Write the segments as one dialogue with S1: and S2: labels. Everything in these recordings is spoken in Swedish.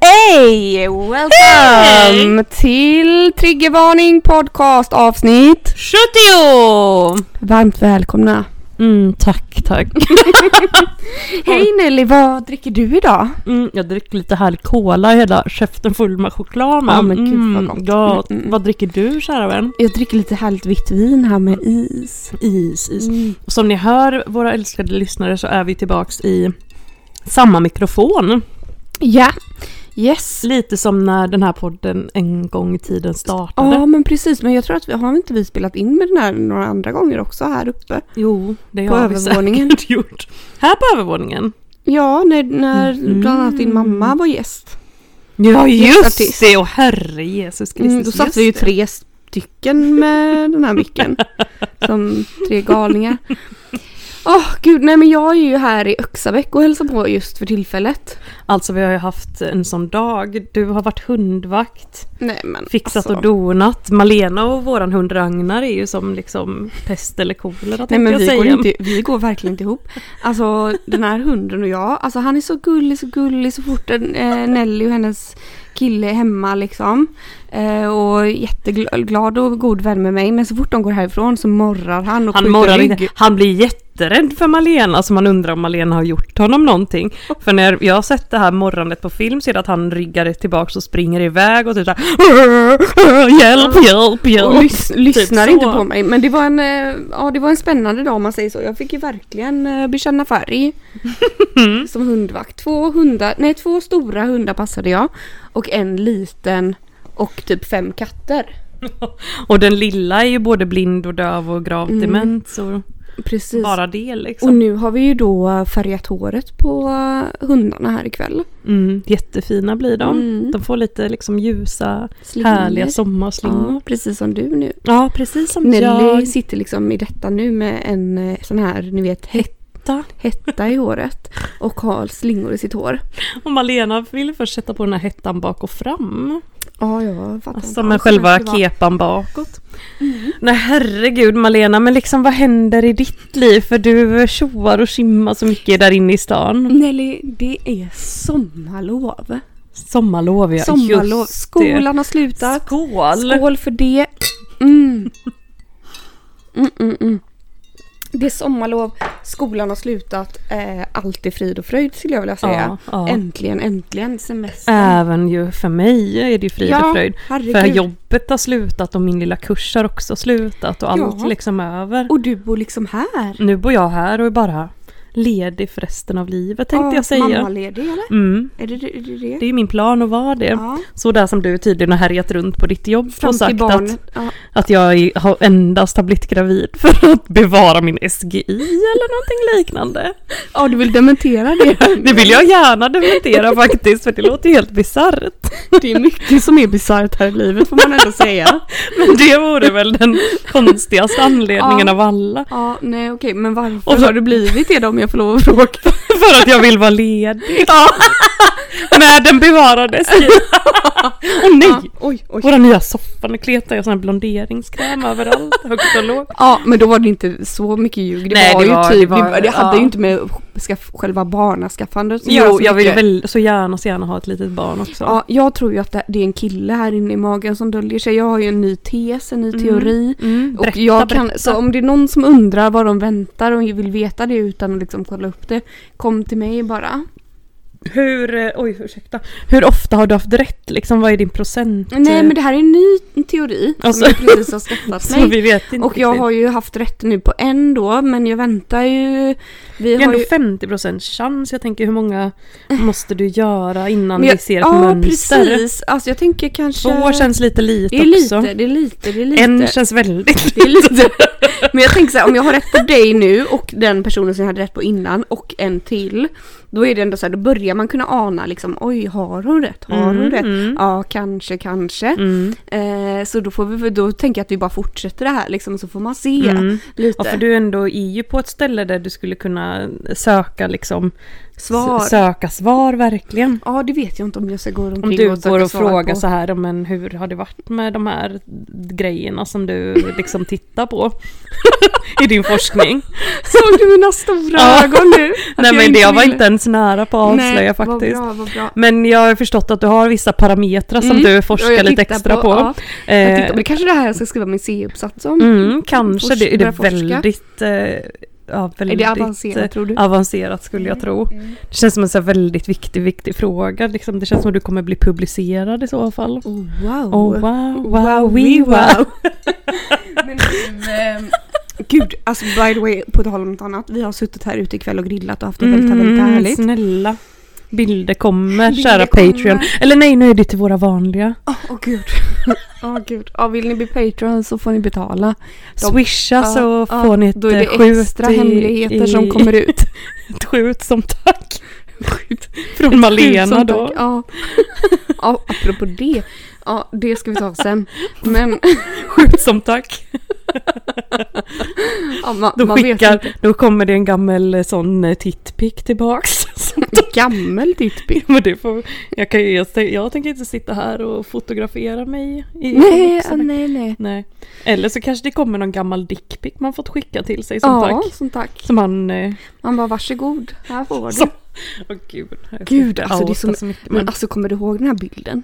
S1: hey! Welcome till Triggervarning podcast avsnitt.
S2: 70!
S1: Varmt välkomna.
S2: Mm, tack, tack.
S1: Hej Nelly, vad dricker du idag?
S2: Mm, jag dricker lite här cola, hela käften full med choklad.
S1: Ja, men gud, vad gott.
S2: ja,
S1: Mm, mm.
S2: Vad dricker du kära vän?
S1: Jag dricker lite härligt vitt vin här med is.
S2: Is, is. Mm.
S1: Mm.
S2: Som ni hör våra älskade lyssnare så är vi tillbaks i samma mikrofon.
S1: Ja, yes.
S2: Lite som när den här podden en gång i tiden
S1: Ja
S2: startade.
S1: men precis, men jag tror att vi har inte vi spelat in med den här några andra gånger också här uppe?
S2: Jo, det
S1: På
S2: har vi
S1: övervåningen.
S2: säkert gjort. Här på övervåningen.
S1: Ja, när, när bland annat din mamma var gäst.
S2: Ja
S1: Artist.
S2: just det, och herre Jesus Kristus.
S1: Mm, då satt
S2: just
S1: vi ju
S2: det.
S1: tre stycken med den här micken. som tre galningar. Åh gud, nej men jag är ju här i Öxabäck och hälsar på just för tillfället.
S2: Alltså vi har ju haft en sån dag. Du har varit hundvakt.
S1: Nej men
S2: Fixat
S1: alltså.
S2: och donat. Malena och våran hund Ragnar är ju som liksom pest eller kolera
S1: Nej
S2: tänkte
S1: men
S2: jag
S1: vi
S2: säga.
S1: går, inte, vi går verkligen inte ihop. Alltså den här hunden och jag, alltså han är så gullig, så gullig så fort eh, Nelly och hennes kille är hemma liksom. Eh, och jätteglad och god vän med mig men så fort de går härifrån så morrar han och
S2: Han,
S1: skjuter
S2: morrar
S1: rygg.
S2: inte. han blir jätterädd för Malena, så man undrar om Malena har gjort honom någonting. För när jag har sett det här morrandet på film så är det att han ryggar tillbaka och springer iväg och typ såhär Hjälp, hjälp,
S1: Och
S2: hjälp!
S1: lys- lyssnar
S2: typ så.
S1: inte på mig. Men det var, en, eh, ja, det var en spännande dag om man säger så. Jag fick ju verkligen eh, bekänna färg som hundvakt. Två, hundar, nej, två stora hundar passade jag och en liten och typ fem katter.
S2: Och den lilla är ju både blind och döv och gravt
S1: Mm.
S2: dement så
S1: Precis.
S2: bara det
S1: Och
S2: liksom.
S1: nu har vi ju då färgat håret på eh, hundarna här ikväll.
S2: Mm, jättefina blir de.
S1: Mm.
S2: De får lite liksom ljusa,
S1: Slingor.
S2: härliga sommarslingor.
S1: Ja, precis som du nu.
S2: Ja, precis som
S1: Nelly
S2: jag.
S1: sitter liksom i detta nu med en eh, sån här, ni vet, het-
S2: Sitta.
S1: hetta i håret och har slingor i sitt hår.
S2: Och Malena ville först sätta på den här hettan bak och fram.
S1: Ja, jag fattar
S2: Alltså med själva kepan bakåt. Nej herregud Malena, men liksom vad händer i ditt liv? För du tjoar och tjimmar så mycket där inne i stan.
S1: Nelly, det är sommarlov.
S2: Sommarlov ja,
S1: Sommarlov.
S2: just det.
S1: Skolan har slutat.
S2: Skål!
S1: Skål för det. Mm. Mm, mm, mm. Det är sommarlov, skolan har slutat, eh, allt är frid och fröjd skulle jag vilja säga.
S2: ja.
S1: Äntligen, äntligen semester.
S2: Även ju för mig är det ju frid och fröjd.
S1: herregud.
S2: För jobbet har slutat och min lilla kurs har också slutat och allt
S1: Ja.
S2: liksom är över.
S1: Och du bor liksom här.
S2: Nu bor jag här och är bara ledig för resten av livet tänkte
S1: Ja,
S2: jag säga.
S1: Mammaledig eller?
S2: Mm.
S1: Är det är det? det?
S2: Det är ju min plan att vara det.
S1: Ja.
S2: Så där som du tydligen har härjat runt på ditt jobb
S1: Fram
S2: och
S1: till
S2: sagt
S1: barnet.
S2: att,
S1: Ja.
S2: att jag i- har endast har blivit gravid för att bevara min SGI eller någonting liknande.
S1: ja, du vill dementera det.
S2: Det vill jag gärna dementera faktiskt för det låter ju helt bisarrt.
S1: Det är mycket som är bisarrt här i livet får man ändå säga.
S2: Men det vore väl den konstigaste anledningen
S1: Ja.
S2: av alla.
S1: Ja, nej okej, men varför
S2: Och så-
S1: har du blivit det då om jag får lov att fråga?
S2: För att jag vill vara ledig. Med den bevarade SGI. Åh
S1: Ja,
S2: nej!
S1: oj, oj.
S2: Våra nya soffa, nu kletar jag sån här blonderingskräm överallt, högt och lågt.
S1: Ja, men då var det inte så mycket ljug. Det
S2: Nej,
S1: var
S2: det
S1: ju
S2: var-
S1: typ, det,
S2: det var-
S1: det hade
S2: ja.
S1: ju inte med skaff, själva barnaskaffandet att göra
S2: Jo,
S1: så
S2: jag vill
S1: mycket.
S2: väl så gärna, så gärna ha ett litet barn också.
S1: Ja, jag tror ju att det, det är en kille här inne i magen som döljer sig. Jag har ju en ny tes, en ny teori.
S2: Mm,
S1: Och
S2: berätta,
S1: jag kan,
S2: berätta.
S1: så om det är någon som undrar vad de väntar och vill veta det utan att liksom kolla upp det, kom till mig bara.
S2: Hur, eh, oj ursäkta, hur ofta har du haft rätt liksom? Vad är din procent?
S1: Nej men det här är en ny teori
S2: Typ. Alltså-
S1: som jag precis har skaffat
S2: Så
S1: mig.
S2: vi vet inte
S1: Och jag
S2: riktigt.
S1: har ju haft rätt nu på en då, men jag väntar ju... Vi
S2: Det är
S1: har
S2: ändå
S1: ju...
S2: 50% chans. Jag tänker hur många måste du göra innan
S1: men jag-
S2: vi ser ett
S1: Ja,
S2: mönster?
S1: precis. Alltså jag tänker kanske...
S2: Två känns lite lite
S1: det är
S2: också.
S1: lite, det är lite, det är lite.
S2: En känns väldigt
S1: det är lite. Men jag tänker så här, om jag har rätt på dig nu och den personen som jag hade rätt på innan och en till. Då är det ändå så här, då börjar man kunna ana liksom, oj har hon rätt? Har hon
S2: Mm,
S1: rätt?
S2: mm.
S1: Ja, kanske, kanske.
S2: Mm.
S1: Eh, så då får vi, då tänker jag att vi bara fortsätter det här liksom, så får man se
S2: Mm.
S1: lite.
S2: Ja, för du ändå är ju på ett ställe där du skulle kunna söka liksom
S1: Svar.
S2: s- Söka svar verkligen.
S1: Ja, det vet jag inte om jag ska gå omkring
S2: Om du
S1: söka
S2: går och
S1: svar
S2: frågar
S1: på.
S2: så här, men hur har det varit med de här grejerna som du liksom tittar på i din forskning?
S1: Såg du mina stora
S2: Ja.
S1: ögon nu? Att
S2: Nej men det jag var
S1: ville-
S2: inte ens nära på att avslöja
S1: Nej,
S2: faktiskt.
S1: Vad bra, vad bra.
S2: Men jag har förstått att du har vissa parametrar som
S1: Mm,
S2: du
S1: och
S2: forskar
S1: jag
S2: lite
S1: tittar
S2: extra på.
S1: ja, jag tittar,
S2: Eh,
S1: men det kanske är det här jag ska skriva min C-uppsats om.
S2: mm, kanske,
S1: Forsk-
S2: det är det
S1: börja forska.
S2: väldigt, eh, ja,
S1: är
S2: väldigt eh,
S1: det avancerat Mm. tror du?
S2: avancerat skulle jag tro. Det känns som en så här väldigt viktig, viktig fråga. Liksom. Det känns som att du kommer bli publicerad i så fall.
S1: Oh, wow.
S2: Oh, wow, wow, we, wow.
S1: Men, ehm, Gud, alltså by the way, på tal om något annat. Vi har suttit här ute ikväll och grillat och haft det väldigt,
S2: Mm,
S1: väldigt härligt.
S2: snälla. Bilder kommer,
S1: Bilder
S2: kära
S1: kommer.
S2: Patreon. Eller nej, nu är det till våra vanliga.
S1: Åh oh, gud. Åh gud. Ja, vill ni bli Patreon så får ni betala. De-
S2: Swisha
S1: Ja,
S2: så
S1: ja,
S2: får ni ett
S1: Då är
S2: eh,
S1: det
S2: skjut
S1: extra
S2: i-
S1: hemligheter
S2: i-
S1: som kommer ut.
S2: Ett skjut som tack. Från Malena
S1: Tusen
S2: då.
S1: tack. Ja. ja, apropå det. Ja, det ska vi ta sen. Men
S2: Skjut som tack.
S1: ja, man,
S2: Då,
S1: man vet inte.
S2: skickar, då kommer det en gammal eh, sån eh, tittpick tillbaks. Så-
S1: Gammel dittby.
S2: Men det får, jag, kan, ju- jag, tän- jag tänker inte sitta här och fotografera mig. I,
S1: Nej,
S2: så-
S1: ja, nej, nej.
S2: nej. Eller så kanske det kommer någon gammal dickpick man fått skicka till sig som
S1: Ja,
S2: tack.
S1: som tack.
S2: Som han... eh,
S1: Man bara varsågod, här får du.
S2: Som, åh gud. jag ska
S1: Gud,
S2: inte
S1: alltså, det är
S2: outa
S1: som-
S2: så mycket, men,
S1: Men alltså kommer du ihåg den här bilden?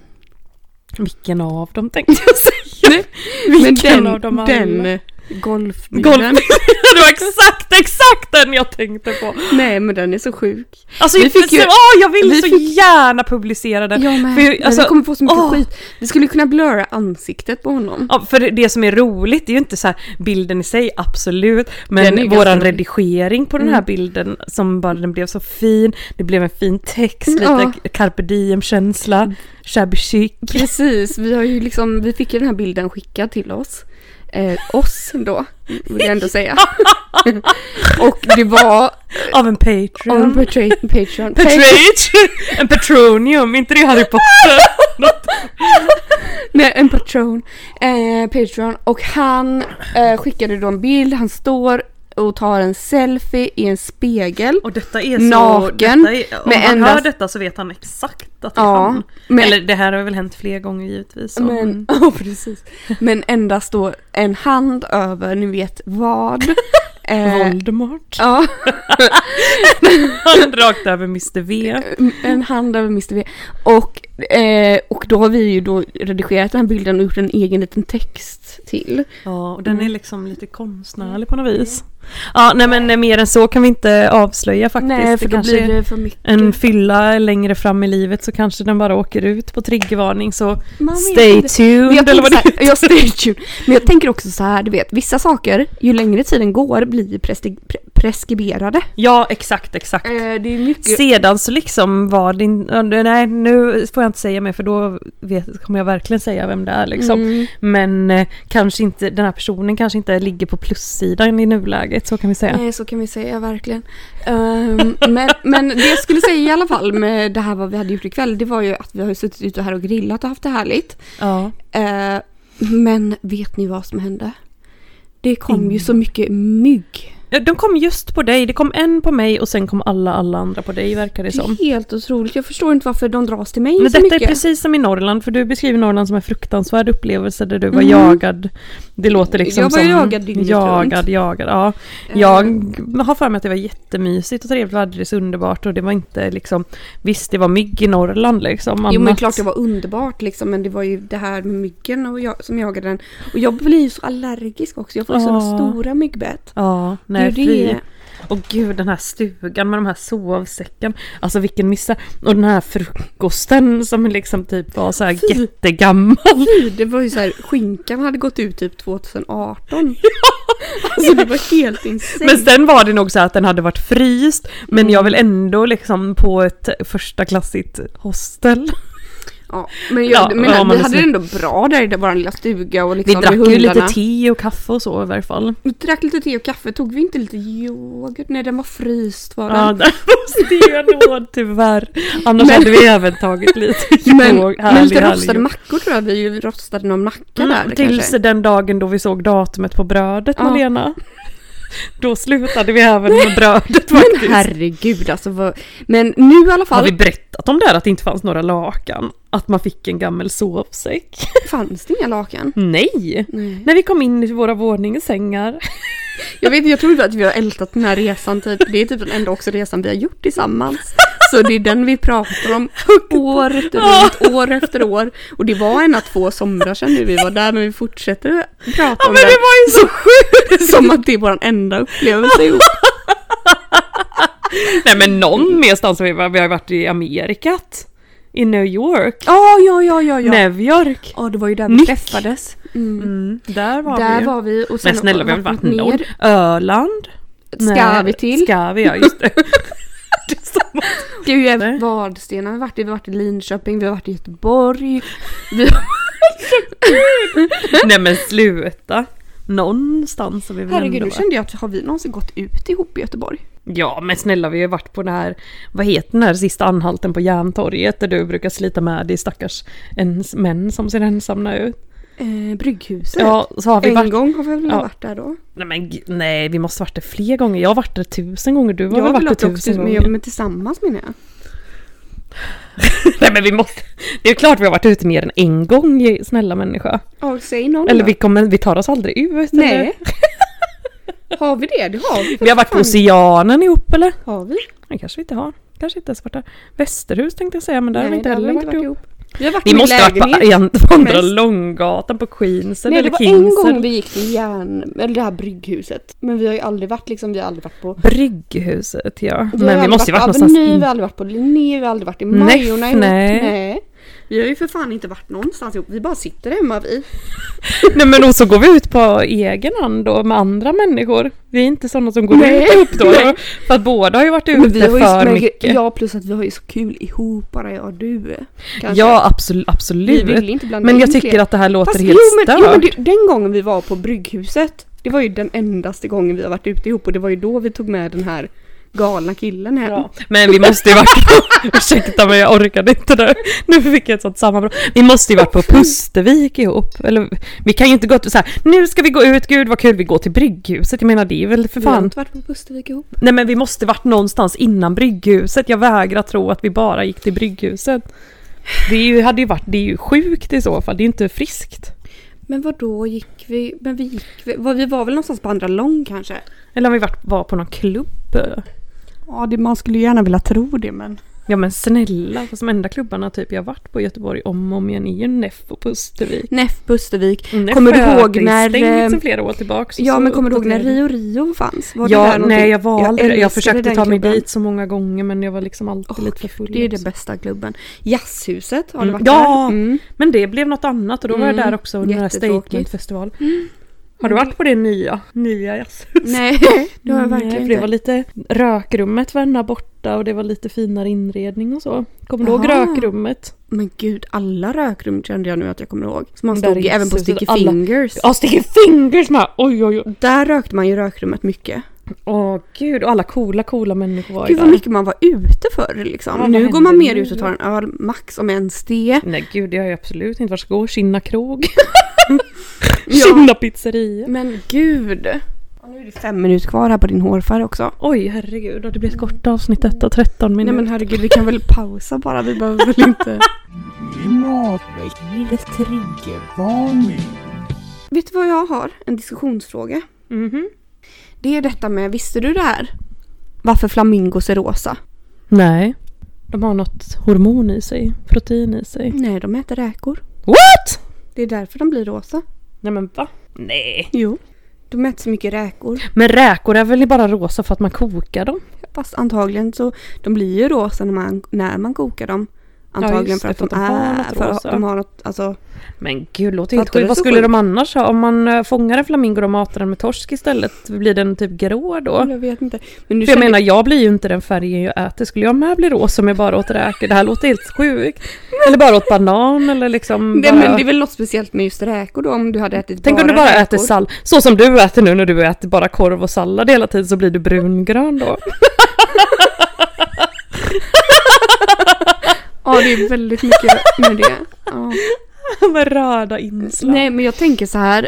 S2: vilken av dem tänkte jag säga?
S1: Men
S2: Vilken
S1: den,
S2: av dem alla?
S1: den eh, golfbilden.
S2: Golf. det var exakt, exakt den jag tänkte på.
S1: Nej men den är så sjuk.
S2: Alltså,
S1: Vi fick
S2: så,
S1: ju-
S2: åh, jag vill
S1: vi
S2: så
S1: fick-
S2: gärna publicera den.
S1: Jag
S2: För jag-
S1: med.
S2: alltså,
S1: vi kommer få så mycket
S2: åh.
S1: skit. Vi skulle kunna blöra ansiktet på honom.
S2: Ja, för det som är roligt, det är ju inte så här bilden i sig, absolut.
S1: Den är
S2: Men
S1: ganska
S2: våran
S1: rolig.
S2: redigering på den här bilden som bara den blev så fin. Det blev en fin text, lite
S1: Ja.
S2: carpe diem-känsla, shabby chic.
S1: Precis, vi, har ju liksom, vi fick ju den här bilden skickad till oss. Eh, oss då, vill jag ändå säga. och det var
S2: Av en Patreon.
S1: on Patreon. Patreon.
S2: Patrage! en Petronium, inte det Harry Potter? Något-
S1: Nej, en patron. Eh, Patreon. Och han eh, skickade då en bild, han står och tar en selfie i en spegel.
S2: och detta är så...
S1: Naken,
S2: Detta är, om
S1: med
S2: han
S1: endast-
S2: hör detta så vet han exakt att det är
S1: Ja,
S2: han.
S1: men-
S2: Eller det här har väl hänt fler gånger givetvis. så-
S1: Men,
S2: mm.
S1: ja precis. Men endast då en hand över, ni vet vad. Eh,
S2: Voldemort.
S1: ja,
S2: Rakt över Mr V.
S1: Eh, en hand över Mr V. Och, eh, och då har vi ju då redigerat den här bilden och gjort en egen liten text till.
S2: Ja, och den
S1: Mm.
S2: är liksom lite konstnärlig på något vis. Ja, nej men eh, mer än så kan vi inte avslöja faktiskt.
S1: Nej, för
S2: det
S1: då
S2: kanske
S1: blir
S2: är
S1: det för mycket.
S2: en fylla längre fram i livet så kanske den bara åker ut på triggervarning så
S1: Man vet
S2: stay
S1: inte. Men
S2: tuned
S1: jag,
S2: eller
S1: tänker
S2: vad
S1: så
S2: det
S1: här, jag, stay tuned. Men jag tänker också så här, du vet, vissa saker, ju längre tiden går, blir presti- pre- preskriberade.
S2: Ja, exakt, exakt.
S1: Eh, det är mycket...
S2: Sedan så liksom var din... ja, Nej, nu får jag inte säga mer för då vet, kommer jag verkligen säga vem det är liksom.
S1: Mm.
S2: Men eh, kanske inte, den här personen kanske inte ligger på plussidan i nuläget, så kan vi säga.
S1: Nej, Eh, så kan vi säga verkligen. Ehm, men, men det jag skulle säga i alla fall med det här vad vi hade gjort ikväll, det var ju att vi har ju suttit ute här och grillat och haft det härligt.
S2: Ja.
S1: Eh, men vet ni vad som hände? Det kom
S2: Mm.
S1: ju så mycket mygg.
S2: Ja, De kom just på dig, det kom en på mig och sen kom alla, alla andra på dig verkar det
S1: Det är
S2: som.
S1: helt otroligt. Jag förstår inte varför de dras till mig
S2: Men
S1: så
S2: detta
S1: mycket.
S2: är precis som i Norrland, för du beskriver Norrland som en fruktansvärd upplevelse där du var
S1: Mm.
S2: jagad. Det låter liksom
S1: Jag var
S2: som...
S1: jagad dygnet
S2: Jagad,
S1: runt. Eh.
S2: jagad, ja. Jag har för mig att det var jättemysigt och trevligt och alldeles underbart och det var inte liksom... Visst, det var mygg i Norrland liksom.
S1: Jo men
S2: annat.
S1: klart det var underbart liksom men det var ju det här med myggen och jag, som jagade den. Och jag blir ju så allergisk också, jag får ju sådana
S2: Ja.
S1: stora myggbett.
S2: Ja, nej
S1: Det är ju det.
S2: fy. Och gud den här stugan med de här sovsäcken. Alltså vilken missa. Och den här frukosten som liksom typ var så här
S1: Fy.
S2: jättegammal.
S1: Fy, det var ju så här, skinkan hade gått ut typ 2018. Alltså det var helt insane.
S2: Men sen var det nog så här att den hade varit Mm. fryst men jag vill ändå liksom på ett första klassigt hostel.
S1: Ja, men
S2: Ja,
S1: jag, men
S2: ja, man
S1: vi
S2: är
S1: hade det
S2: så-
S1: ändå bra där i det- vår lilla stuga och
S2: Vi
S1: liksom
S2: drack
S1: med
S2: ju
S1: hundarna.
S2: lite te och kaffe och så i varje fall.
S1: Vi drack lite te och kaffe, tog vi inte lite yoghurt? Nej den var fryst var den.
S2: Ja, där måste jag då tyvärr. Annars
S1: Men-
S2: hade vi även tagit lite
S1: men,
S2: yoghurt.
S1: men lite rostade mackor tror jag vi ju rostade någon macka där
S2: Mm, tills
S1: kanske.
S2: den dagen då vi såg datumet på brödet
S1: Ja.
S2: Malena. Då slutade vi även med brödet faktiskt.
S1: Men herregud alltså. Vad... Men nu i alla
S2: Har
S1: fall
S2: vi berättat om det här att det inte fanns några lakan? Att man fick en gammal sovsäck?
S1: fanns det inga lakan.
S2: Nej!
S1: Nej.
S2: När vi kom in i våra våningssängar.
S1: Jag vet jag tror typ att vi har ältat den här resan typ. Det är typ den enda också resan vi har gjort tillsammans. Så det är den vi pratar om år efter runt, år efter år. Och det var en att två somrar sedan nu vi var där men vi fortsätter prata
S2: Ja men
S1: om
S2: det
S1: det.
S2: var ju så
S1: Som att det är vår enda upplevelse ihop.
S2: Nej men någon merstans, vi, var- vi har varit i Amerikat. I New York.
S1: Ja, ja, ja, ja, ja.
S2: New York.
S1: Ja, det var ju där vi
S2: Nick.
S1: träffades. Mm.
S2: Mm, där var
S1: Där
S2: vi.
S1: var vi och sen
S2: men snälla vi har väl varit
S1: ner.
S2: norr? Öland?
S1: Ska
S2: Nej,
S1: vi till?
S2: Ska vi, ja just det. det är samma.
S1: Det är ju även
S2: Nej.
S1: Vadstena vi har varit i, vi har varit i Linköping, vi har varit i Göteborg. Vi har...
S2: Nej men sluta. Någonstans har vi väl
S1: Herregud,
S2: ändå
S1: nu
S2: varit.
S1: kände jag att har vi någonsin gått ut ihop i Göteborg?
S2: Ja men snälla vi har ju varit på den här, vad heter den här sista anhalten på Järntorget där du brukar slita med dig stackars ens män som ser ensamma ut.
S1: Eh, Brygghuset.
S2: Ja, så har vi
S1: en
S2: varit...
S1: gång har vi väl
S2: Ja.
S1: varit där då?
S2: Nej men g- nej, vi måste varit där fler gånger. Jag har varit där tusen gånger, du har
S1: Jag
S2: väl
S1: har väl
S2: varit
S1: också
S2: där
S1: åkt
S2: tusen
S1: ut
S2: gånger.
S1: med, men tillsammans menar jag.
S2: nej men vi måste... Det är klart vi har varit ute mer än en gång, ge- snälla människa.
S1: Ja, säg någon
S2: Eller
S1: då.
S2: vi, kommer, vi tar oss aldrig ut. Eller?
S1: Nej. har vi det? Det har vi.
S2: Vi har varit på Oceanen ihop eller?
S1: Har vi?
S2: Nej, kanske vi inte har. Kanske inte ens varit där. Västerhus tänkte jag säga, men där har vi
S1: Nej,
S2: inte
S1: det har
S2: heller
S1: vi
S2: varit ihop.
S1: Vi har varit
S2: Vi
S1: i min
S2: måste ha varit
S1: lägenhet.
S2: på en- på andra
S1: Mest.
S2: långgatan på Queens
S1: Nej, det
S2: eller
S1: var
S2: Kings.
S1: en gång
S2: eller-
S1: vi gick till järn, eller det här brygghuset. Men vi har ju aldrig varit liksom, vi har aldrig varit på...
S2: Brygghuset ja.
S1: har
S2: Men vi
S1: aldrig
S2: måste ju
S1: på
S2: varit någonstans
S1: Aveny, vi har
S2: in.
S1: aldrig varit på Linné, vi har aldrig varit i
S2: Nej,
S1: Majorna ihop.
S2: nej.
S1: nej. Vi har ju för fan inte varit någonstans ihop, vi bara sitter hemma vi.
S2: Nej men och så går vi ut på egen hand då med andra människor. Vi är inte sådana som går
S1: Nej.
S2: ut upp då.
S1: Nej.
S2: För att båda har ju varit
S1: Men
S2: ute
S1: vi har ju
S2: för
S1: men-
S2: mycket.
S1: Ja, plus att vi har ju så kul ihop bara jag och du. kanske.
S2: Ja absolut.
S1: vi
S2: absolut.
S1: vill inte blanda
S2: men jag
S1: in
S2: tycker
S1: fler.
S2: att det här låter
S1: Fast,
S2: helt
S1: jo, men, jo, men
S2: stört.
S1: det, den gången vi var på Brygghuset, det var ju den endaste gången vi har varit ute ihop och det var ju då vi tog med den här galna killen hem.
S2: Ja, men vi måste ju varit på... Ursäkta men jag orkade inte nu. Nu fick jag ett sånt sammanbrott. Vi måste ju varit på Pustervik ihop. Eller, vi kan ju inte gå till så här, nu ska vi gå ut, gud vad kul vi går till Brygghuset. Jag menar det är väl för
S1: Vi har
S2: fan...
S1: inte varit på Pustervik ihop.
S2: Nej men vi måste varit någonstans innan Brygghuset. Jag vägrar tro att vi bara gick till Brygghuset. Det är ju, hade ju varit, det är ju sjukt i så fall, det är ju inte friskt.
S1: Men vad då gick vi? Men vi gick vi, var, vi var väl någonstans på andra lång kanske?
S2: Eller om vi varit, var på någon klubb.
S1: Ja, det, man skulle gärna vilja tro det men.
S2: Ja men snälla, fast de enda klubbarna typ jag varit på i Göteborg om och om igen är ju Neff och Pustervik.
S1: Neff Pustervik.
S2: Nej,
S1: Kommer du
S2: för
S1: ihåg
S2: Mm, det är
S1: när,
S2: stängt
S1: eh,
S2: sedan flera år tillbaka.
S1: Ja
S2: så
S1: men kommer du ihåg när
S2: uppdaterade-
S1: Rio Rio fanns? Var du
S2: Ja,
S1: där någonting?
S2: nej jag var aldrig Jag,
S1: älskade
S2: jag försökte
S1: den
S2: ta mig
S1: klubben.
S2: dit så många gånger men jag var liksom alltid
S1: Åh,
S2: lite för full.
S1: Det är den
S2: också.
S1: bästa klubben. Jazzhuset, har du
S2: Mm.
S1: varit
S2: Ja!
S1: där? Mm.
S2: Men det blev något annat och då var
S1: Mm,
S2: jag där också under den här
S1: jättetråkigt. Mm.
S2: statementfestivalen. Har du varit på det nya? Nya jazzhuset?
S1: Nej, det har jag verkligen
S2: för det var lite,
S1: inte.
S2: rökrummet var ena borta och det var lite finare inredning och så. Kommer du ihåg
S1: Aha.
S2: rökrummet?
S1: Men gud, alla rökrum kände jag nu att jag kommer ihåg. Som
S2: Där
S1: man stod
S2: i
S1: ju även på
S2: Jazzhuset,
S1: Sticky
S2: alla-
S1: Fingers.
S2: Ja, Sticky Fingers med! Oj oj oj!
S1: Där rökte man ju i rökrummet mycket.
S2: Åh gud, och alla coola coola människor var ju
S1: Gud vad
S2: där.
S1: mycket man var ute förr liksom.
S2: Ja, vad
S1: nu går man
S2: händer
S1: mer
S2: nu
S1: ut och tar en öl, max om ens det.
S2: Nej gud, det har jag absolut inte. Vart ska jag gå? Kinna krog?
S1: Ja.
S2: Kinna pizzeria?
S1: Men gud! Och nu är det fem minuter kvar här på din hårfärg också.
S2: Oj herregud, det blir ett kort avsnitt detta, 13
S1: Nej
S2: minuter.
S1: men herregud, vi kan väl pausa bara, vi behöver väl inte...
S3: Klimatväckningens triggervarning.
S1: Vet du vad jag har? En diskussionsfråga.
S2: Mhm.
S1: Det är detta med, visste du det här? Varför flamingos är rosa?
S2: Nej. De har något hormon i sig, protein i sig.
S1: Nej, de äter räkor.
S2: What?
S1: Det är därför de blir rosa.
S2: Nej men va? Nej.
S1: Jo. De äter så mycket räkor.
S2: Men räkor är väl bara rosa för att man kokar dem?
S1: Fast antagligen så, de blir ju rosa när man, när man kokar dem. Antagligen
S2: just
S1: för
S2: det,
S1: att de, är, för att
S2: rosa.
S1: de har något, alltså
S2: Men gud, låter
S1: För
S2: helt
S1: att då är
S2: sjukt.
S1: det
S2: Vad
S1: så
S2: skulle
S1: sjukt.
S2: de annars ha? Om man eh, fångar en flamingo och matar den med torsk istället, blir den typ grå då?
S1: Jag vet inte. Men nu
S2: För jag
S1: känner-
S2: menar, jag blir ju inte den färgen jag äter. Skulle jag med bli rosa om jag bara åt räkor? Det här låter helt sjukt. Eller bara åt banan eller liksom...
S1: det,
S2: bara...
S1: men det är väl något speciellt med just räkor då om du hade ätit
S2: Tänk om du bara
S1: räkor.
S2: äter sallad. Så som du äter nu när du äter bara korv och sallad hela tiden så blir du brungrön då.
S1: Ja det är väldigt mycket med det. Ja.
S2: Med röda inslag.
S1: Nej men jag tänker så här.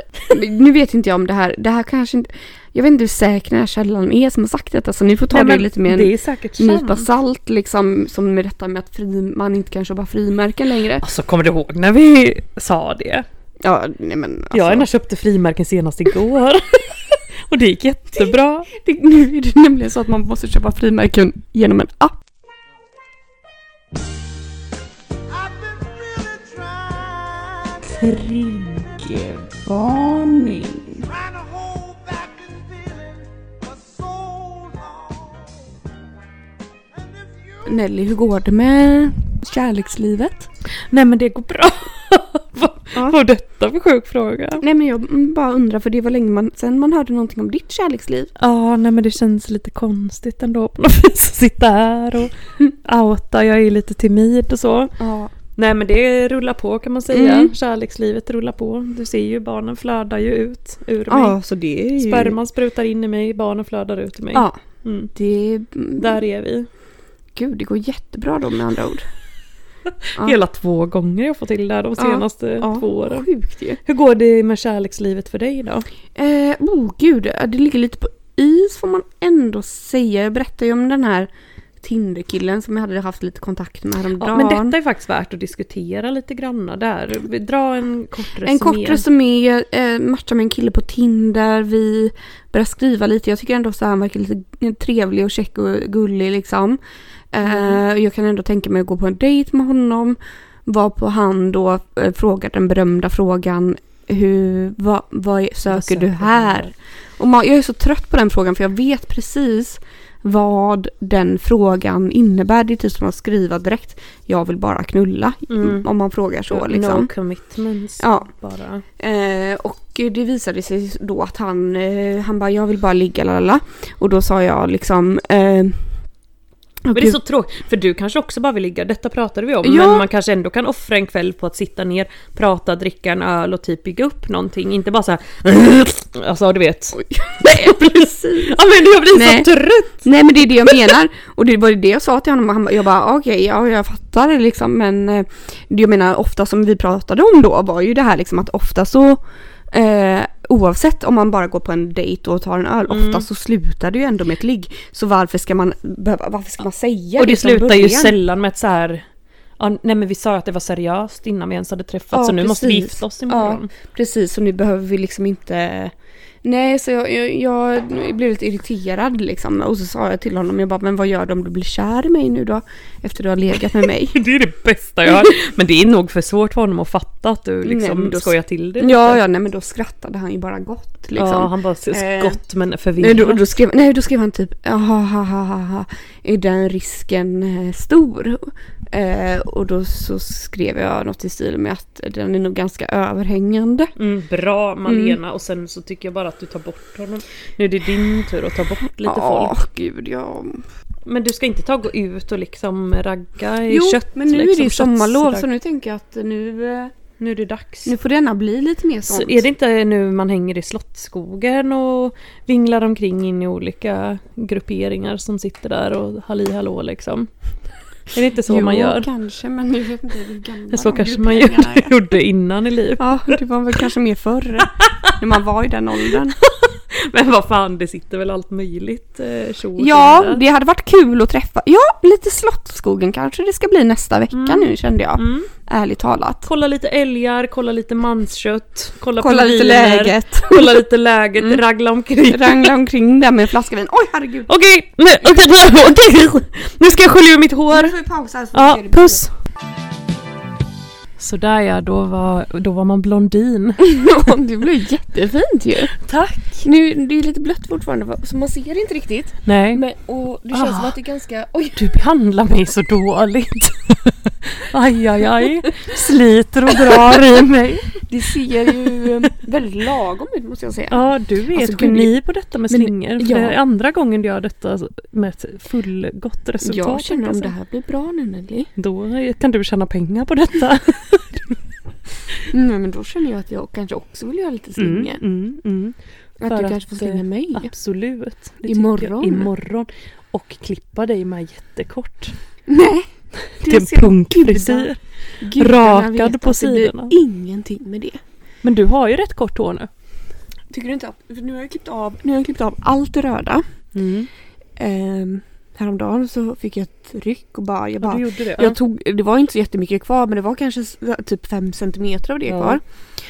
S1: Nu vet inte jag om det här. Det här kanske inte. Jag vet inte hur säker den här källan är som har sagt detta så ni får ta
S2: Nej,
S1: det
S2: men
S1: lite med en
S2: Det är säkert
S1: nypa
S2: sant.
S1: salt liksom. Som med detta med att fri, man inte kan köpa frimärken längre.
S2: Alltså kommer du ihåg när vi sa det?
S1: Ja nej men alltså,
S2: Jag ena köpte frimärken senast igår. och det gick jättebra.
S1: det, Nu är det nämligen så att man måste köpa frimärken genom en app.
S3: I've been really trying,
S4: Triggervarning.
S3: trying to hold back this feeling for so long. And if you
S1: Nelly hur går det med kärlekslivet?
S2: Nej men det går bra. Vad
S1: Ja.
S2: var detta för sjuk fråga?
S1: Nej men jag mm, bara undrar för det var länge man, sen man hörde någonting om ditt kärleksliv.
S2: Ja, nej men det känns lite konstigt ändå på något vis att sitta här och outa. Jag är lite timid och så.
S1: Ja.
S2: Nej men det rullar på kan man säga.
S1: Mm.
S2: Kärlekslivet rullar på. Du ser ju barnen flödar ju ut ur mig.
S1: Ja så det är ju...
S2: Sperman sprutar in i mig, barnen flödar ut i mig.
S1: Ja.
S2: Mm.
S1: Det är...
S2: Där är vi.
S1: Gud, det går jättebra då med andra ord. Ja.
S2: Hela två gånger jag får till det här de
S1: Ja.
S2: senaste två åren.
S1: Sjukt ju.
S2: Hur går det med kärlekslivet för dig då?
S1: Eh, oh gud, eh, det ligger lite på is får man ändå säga. Jag berättade ju om den här Tinderkillen som jag hade haft lite kontakt med häromdagen.
S2: Ja, men detta är faktiskt värt att diskutera lite grann där. Vi- Dra en kort resumé.
S1: en kort resumé, eh, matchar med en kille på Tinder, vi börjar skriva lite. Jag tycker ändå så här, han verkar lite trevlig och käck och gullig liksom. Eh,
S2: Mm.
S1: och jag kan ändå tänka mig att gå på en dejt med honom. Var på han då eh, frågar den berömda frågan hur, vad, vad är- söker,
S2: söker
S1: du
S2: du
S1: här?
S2: här?
S1: Och man, jag är så trött på den frågan för jag vet precis vad den frågan innebär. Det är typ som att skriva direkt, jag vill bara knulla.
S2: Mm.
S1: Om man frågar så liksom.
S2: No commitments.
S1: Ja.
S2: Bara.
S1: Eh, och det visade sig då att han, eh, han bara jag vill bara ligga lalala. Och då sa jag liksom eh,
S2: Men det är så tråkigt, för du kanske också bara vill ligga, detta pratade vi om,
S1: Typ. Ja.
S2: men man kanske ändå kan offra en kväll på att sitta ner, prata, dricka en öl och typ bygga upp någonting, inte bara såhär Alltså du vet.
S1: Nej precis!
S2: Ja men jag blir
S1: Nej.
S2: så trött!
S1: Nej men det är det jag menar. Och det var ju det jag sa till honom. Han, ba- jag bara ah, okej, ja jag fattar liksom men eh, det jag menar ofta som vi pratade om då var ju det här liksom att ofta så eh, oavsett om man bara går på en dejt och tar en öl,
S2: Mm.
S1: ofta så slutar det ju ändå med ett ligg. Så varför ska man behöva, varför ska man säga
S2: Och det
S1: från
S2: slutar ju
S1: liksom början?
S2: sällan med ett så här. Ja, nej men vi sa ju att det var seriöst innan vi ens hade träffats
S1: Ja,
S2: så nu måste vi
S1: precis.
S2: gifta oss imorgon.
S1: Precis, så nu behöver vi liksom inte... Nej, så jag, jag, jag blev lite irriterad liksom. Och så sa jag till honom, jag bara, men vad gör du om du blir kär i mig nu då? Efter du har legat med mig.
S2: Det är det bästa jag har. Men det är nog för svårt för honom att fatta att du
S1: Nej,
S2: liksom
S1: men då-
S2: skojar till det lite.
S1: ja, ja, nej men då skrattade han ju bara gott liksom.
S2: ja, han bara
S1: Eh.
S2: skott men
S1: Nej
S2: förvirrad.
S1: då, då, skrev, nej, då skrev han typ ha ha ha ha ha är den risken eh, stor? Eh, och då så skrev jag något i stil med att den är nog ganska överhängande.
S2: Mm, bra Malena
S1: Mm.
S2: och sen så tycker jag bara att du tar bort honom. Nu är det din tur att ta bort lite
S1: Ja,
S2: folk.
S1: gud jag
S2: Men du ska inte ta och gå ut och liksom ragga i
S1: Jo,
S2: kött.
S1: men nu är
S2: liksom,
S1: det ju sommarlov
S2: köttsragg.
S1: så nu tänker jag att nu, eh,
S2: Nu är det dags.
S1: nu får denna bli lite mer sånt.
S2: så är det inte nu man hänger i Slottsskogen och vinglar omkring in i olika grupperingar som sitter där och halli hallå liksom? Är det inte så
S1: jo,
S2: man gör?
S1: kanske men nu vet inte hur gamla
S2: Så
S1: de
S2: kanske man
S1: grupperingarna
S2: gjorde,
S1: är.
S2: gjorde innan i livet.
S1: Ja, det var väl kanske mer förr. när man var i den åldern.
S2: Men vad fan, det sitter väl allt möjligt eh, tjo och tjo
S1: Ja,
S2: där.
S1: det hade varit kul att träffa. Ja, lite Slottsskogen kanske det ska bli nästa vecka nu kände jag.
S2: Mm.
S1: Ärligt talat.
S2: Kolla lite älgar, kolla lite manskött, kolla,
S1: Kolla lite Mm.
S2: pingviner,
S1: läget.
S2: Kolla lite läget, ragla omkring.
S1: Rangla omkring där med en flaska vin. Oj herregud.
S2: Okej, nu, okej, nu ska jag skölja ur mitt hår.
S1: Nu får vi pausa här så
S2: Ja,
S1: får vi se det
S2: puss. Sådär ja, då var, då var man blondin.
S1: blir. Ja, det blev jättefint ju.
S2: Tack.
S1: Nu, det är lite blött fortfarande va? så man ser inte riktigt.
S2: Nej,
S1: Men, och det känns
S2: Ah.
S1: som att det är ganska... Oj!
S2: du behandlar mig så dåligt. Aj, aj, aj. Sliter och drar i mig.
S1: Det ser ju eh, väldigt lagom ut måste jag säga.
S2: Ja, du är
S1: Alltså,
S2: ett
S1: gud,
S2: geni på detta med
S1: men-
S2: slingor. för
S1: ja.
S2: Det är andra gången du gör detta med ett fullgott resultat.
S1: jag känner om
S2: alltså.
S1: det här blir bra nu Nelly.
S2: Då kan du tjäna pengar på detta.
S1: Nej men då känner jag att jag kanske också vill göra lite slingor.
S2: mm, mm.
S1: Att
S2: För
S1: du kanske får
S2: att,
S1: slinga
S2: eh,
S1: mig.
S2: Absolut. Det tycker
S1: Imorgon.
S2: Jag, imorgon. Och klippa dig med jättekort.
S1: Nej!
S2: Till
S1: ser
S2: punkfrisyr.
S1: gudarna
S2: rakad
S1: vet
S2: på
S1: att det blir
S2: sidorna.
S1: ingenting med det.
S2: Men du har ju rätt kort hår nu.
S1: Tycker du inte att, för nu har jag klippt av, nu har jag klippt av allt det röda. Mm. Ehm, häromdagen så fick jag ett ryck och bara, jag
S2: Ja,
S1: bara
S2: du gjorde det.
S1: Jag tog, det var inte så jättemycket kvar men det var kanske s- typ 5 centimeter av det
S2: Ja.
S1: kvar.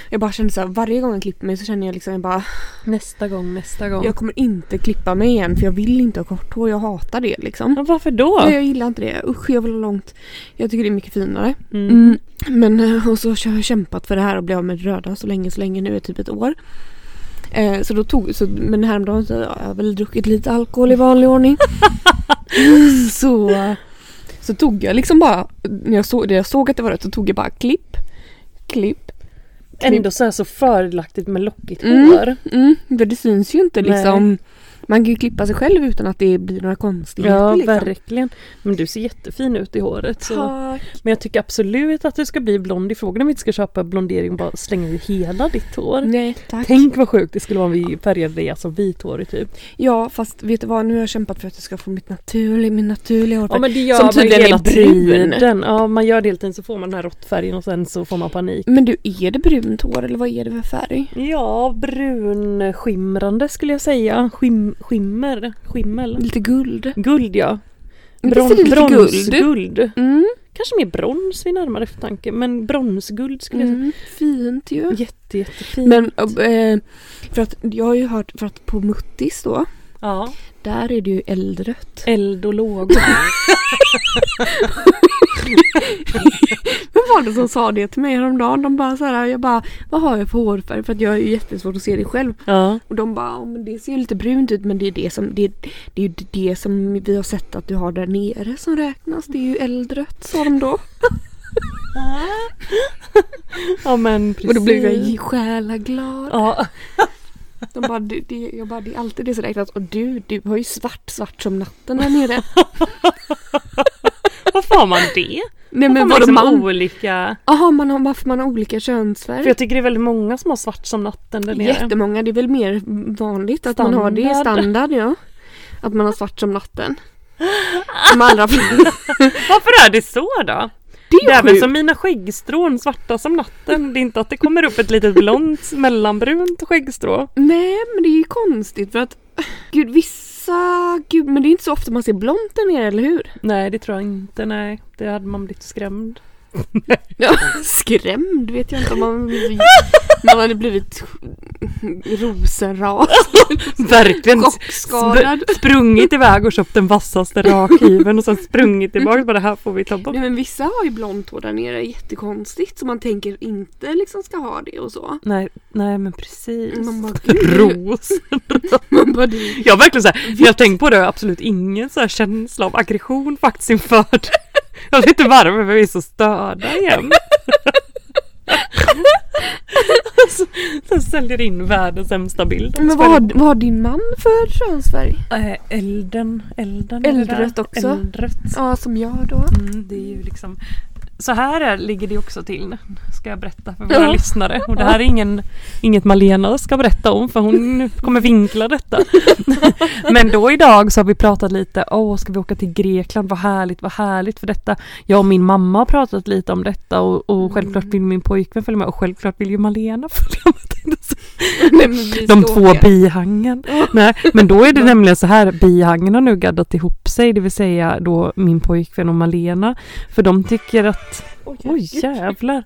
S1: Jag bara kände så här, varje gång jag klipper mig så känner jag liksom jag bara
S2: Nästa gång, nästa gång.
S1: jag kommer inte klippa mig igen för jag vill inte ha kort hår, jag hatar det liksom.
S2: Men varför då?
S1: Nej, jag gillar inte det, usch jag vill ha långt. Jag tycker det är mycket finare.
S2: Mm.
S1: Mm. Men eh, och så har jag kämpat för det här och blev av med det röda så länge, så länge nu är typ ett år. Eh, så då tog, så, men häromdagen så har jag väl druckit lite alkohol i vanlig ordning. Mm, så, så tog jag liksom bara, när jag, såg, när jag såg att det var rött så tog jag bara klipp, klipp.
S2: Ändå så här så fördelaktigt med lockigt
S1: Mm.
S2: hår.
S1: Mm, för det syns ju inte
S2: Nej.
S1: liksom. Man kan ju klippa sig själv utan att det blir några konstigheter.
S2: Ja,
S1: liksom.
S2: verkligen. Men du ser jättefin ut i håret. Så.
S1: Tack.
S2: Men jag tycker absolut att du ska bli blond i frågan om vi inte ska köpa blondering och bara slänga i hela ditt hår.
S1: Nej, tack.
S2: Tänk vad sjukt det skulle vara om vi färgade dig alltså vithårig typ.
S1: Ja, fast vet du vad? Nu har jag kämpat för att jag ska få mitt naturliga, min naturliga hårfärg.
S2: men det gör
S1: Som tydligen är brun.
S2: Tiden. Ja, man gör det hela tiden så får man den här råttfärgen och sen så får man panik.
S1: Men du, är det brunt hår eller vad är det för färg?
S2: Ja, brunskimrande skulle jag säga. Skim, skimmer, skimmel.
S1: Lite guld.
S2: Guld ja.
S1: Men visst är det lite
S2: bronsguld.
S1: guld? Mm.
S2: Kanske mer brons vid närmare eftertanke, men bronsguld skulle jag säga.
S1: mm. Fint ju.
S2: Jätte, jättefint.
S1: Men eh, för att jag har ju hört för att på Muttis då,
S2: ja.
S1: där är det ju eldrött.
S2: Eld och lågor.
S1: Vem var det som sa det till mig häromdagen? De bara så här, jag bara, vad har jag för hårfärg? För att jag är ju jättesvårt att se det själv.
S2: ja.
S1: Och de bara, "Ja, men det ser ju lite brunt ut men det är det som, det, det är ju det som vi har sett att du har där nere som räknas. Det är ju eldrött sa de då.
S2: ja, men precis.
S1: Och då blev jag själaglad.
S2: Ja.
S1: De bara, det, det, jag bara, det är alltid det som räknas. Och du, du har ju svart, svart som natten där nere.
S2: Varför har man det?
S1: Nej
S2: Har
S1: men vadå man?
S2: olika...
S1: Jaha, man har, varför man har olika
S2: För
S1: könsfärg?
S2: jag tycker det är väldigt många som har svart som natten där nere.
S1: Jättemånga, det är väl mer vanligt att man har det i
S2: Standard.
S1: standard ja. Att man har svart som natten. De allra flesta.
S2: Varför är det så då?
S1: Det
S2: Det är
S1: är
S2: väl
S1: sjukt.
S2: som mina skäggstrån, svarta som natten. Det är inte att det kommer upp ett litet blont mellanbrunt skäggstrå.
S1: Nej men det är ju konstigt för att gud vissa, gud men det är inte så ofta man ser blont där nere eller hur?
S2: Nej, det tror jag inte. Nej, det hade man blivit skrämd.
S1: Ja, skrämd vet jag inte om man, man hade blivit rosenras.
S2: Verkligen
S1: Chockskadad.
S2: sp- sprungit iväg och köpt den vassaste rakhyveln och sen sprungit tillbaka bara det här får vi ta bort.
S1: Nej men vissa har ju blont hår där nere, jättekonstigt. Så man tänker inte liksom ska ha det och så.
S2: Nej, nej men precis.
S1: Man bara, gud.
S2: Ros.
S1: Man bara, det-
S2: Jag har verkligen så här, när jag tänker på det har jag absolut ingen så här känsla av aggression faktiskt inför det. Jag vet inte varför men vi är så störda igen. så, så Alltså, säljer in världens sämsta bild. Alltså,
S1: Men vad har, vad har din man för könsfärg?
S2: Eh, elden, elden. är det där.
S1: Eldrött också.
S2: Eldrött.
S1: Ja, som jag då.
S2: Mm, det är ju liksom... Så här är, ligger det också till, ska jag berätta för våra
S1: Ja.
S2: lyssnare. Och det här är ingen, inget Malena ska berätta om för hon kommer vinkla detta. Men då idag så har vi pratat lite, åh ska vi åka till Grekland, vad härligt, vad härligt för detta. Jag och min mamma har pratat lite om detta och, och självklart
S1: Mm.
S2: vill min pojkvän följa med och självklart vill ju Malena följa med. tänkte jag säga.
S1: Nej, men vi
S2: De
S1: står
S2: två
S1: här.
S2: bihangen. Nej, men då är det nämligen så här, bihangen har nu gaddat ihop sig, det vill säga då min pojkvän och Malena. För de tycker att,
S1: Oj,
S2: oj
S1: herregud.
S2: jävlar.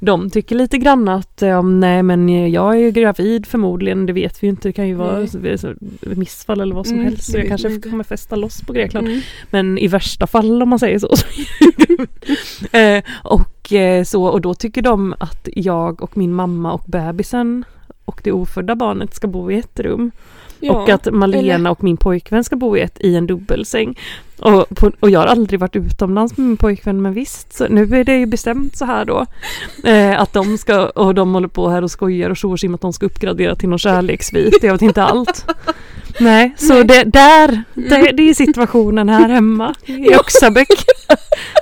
S2: De tycker lite grann att, eh, nej men eh, jag är ju gravid förmodligen, det vet vi ju inte, det kan ju vara så-
S1: Nej.
S2: så- missfall eller vad som
S1: Mm,
S2: helst. Så
S1: det
S2: jag
S1: vet
S2: kanske
S1: man inte.
S2: kommer festa loss på Grekland.
S1: Mm.
S2: Men i värsta fall om man säger så. så eh, och, eh, så. Och då tycker de att jag och min mamma och bebisen och det ofödda barnet ska bo i ett rum.
S1: Ja,
S2: och att Malena
S1: eller-
S2: och min pojkvän ska bo i, ett, i en dubbelsäng. Och, på, och jag har aldrig varit utomlands med min pojkvän men visst, så nu är det ju bestämt så här då. Eh, att de ska, och de håller på här och skojar och tjoar sig om att de ska uppgradera till någon kärleksvit. Jag vet inte allt. Nej, så
S1: Nej. Mm.
S2: Det, där, det, det är situationen här hemma i Oxabäck.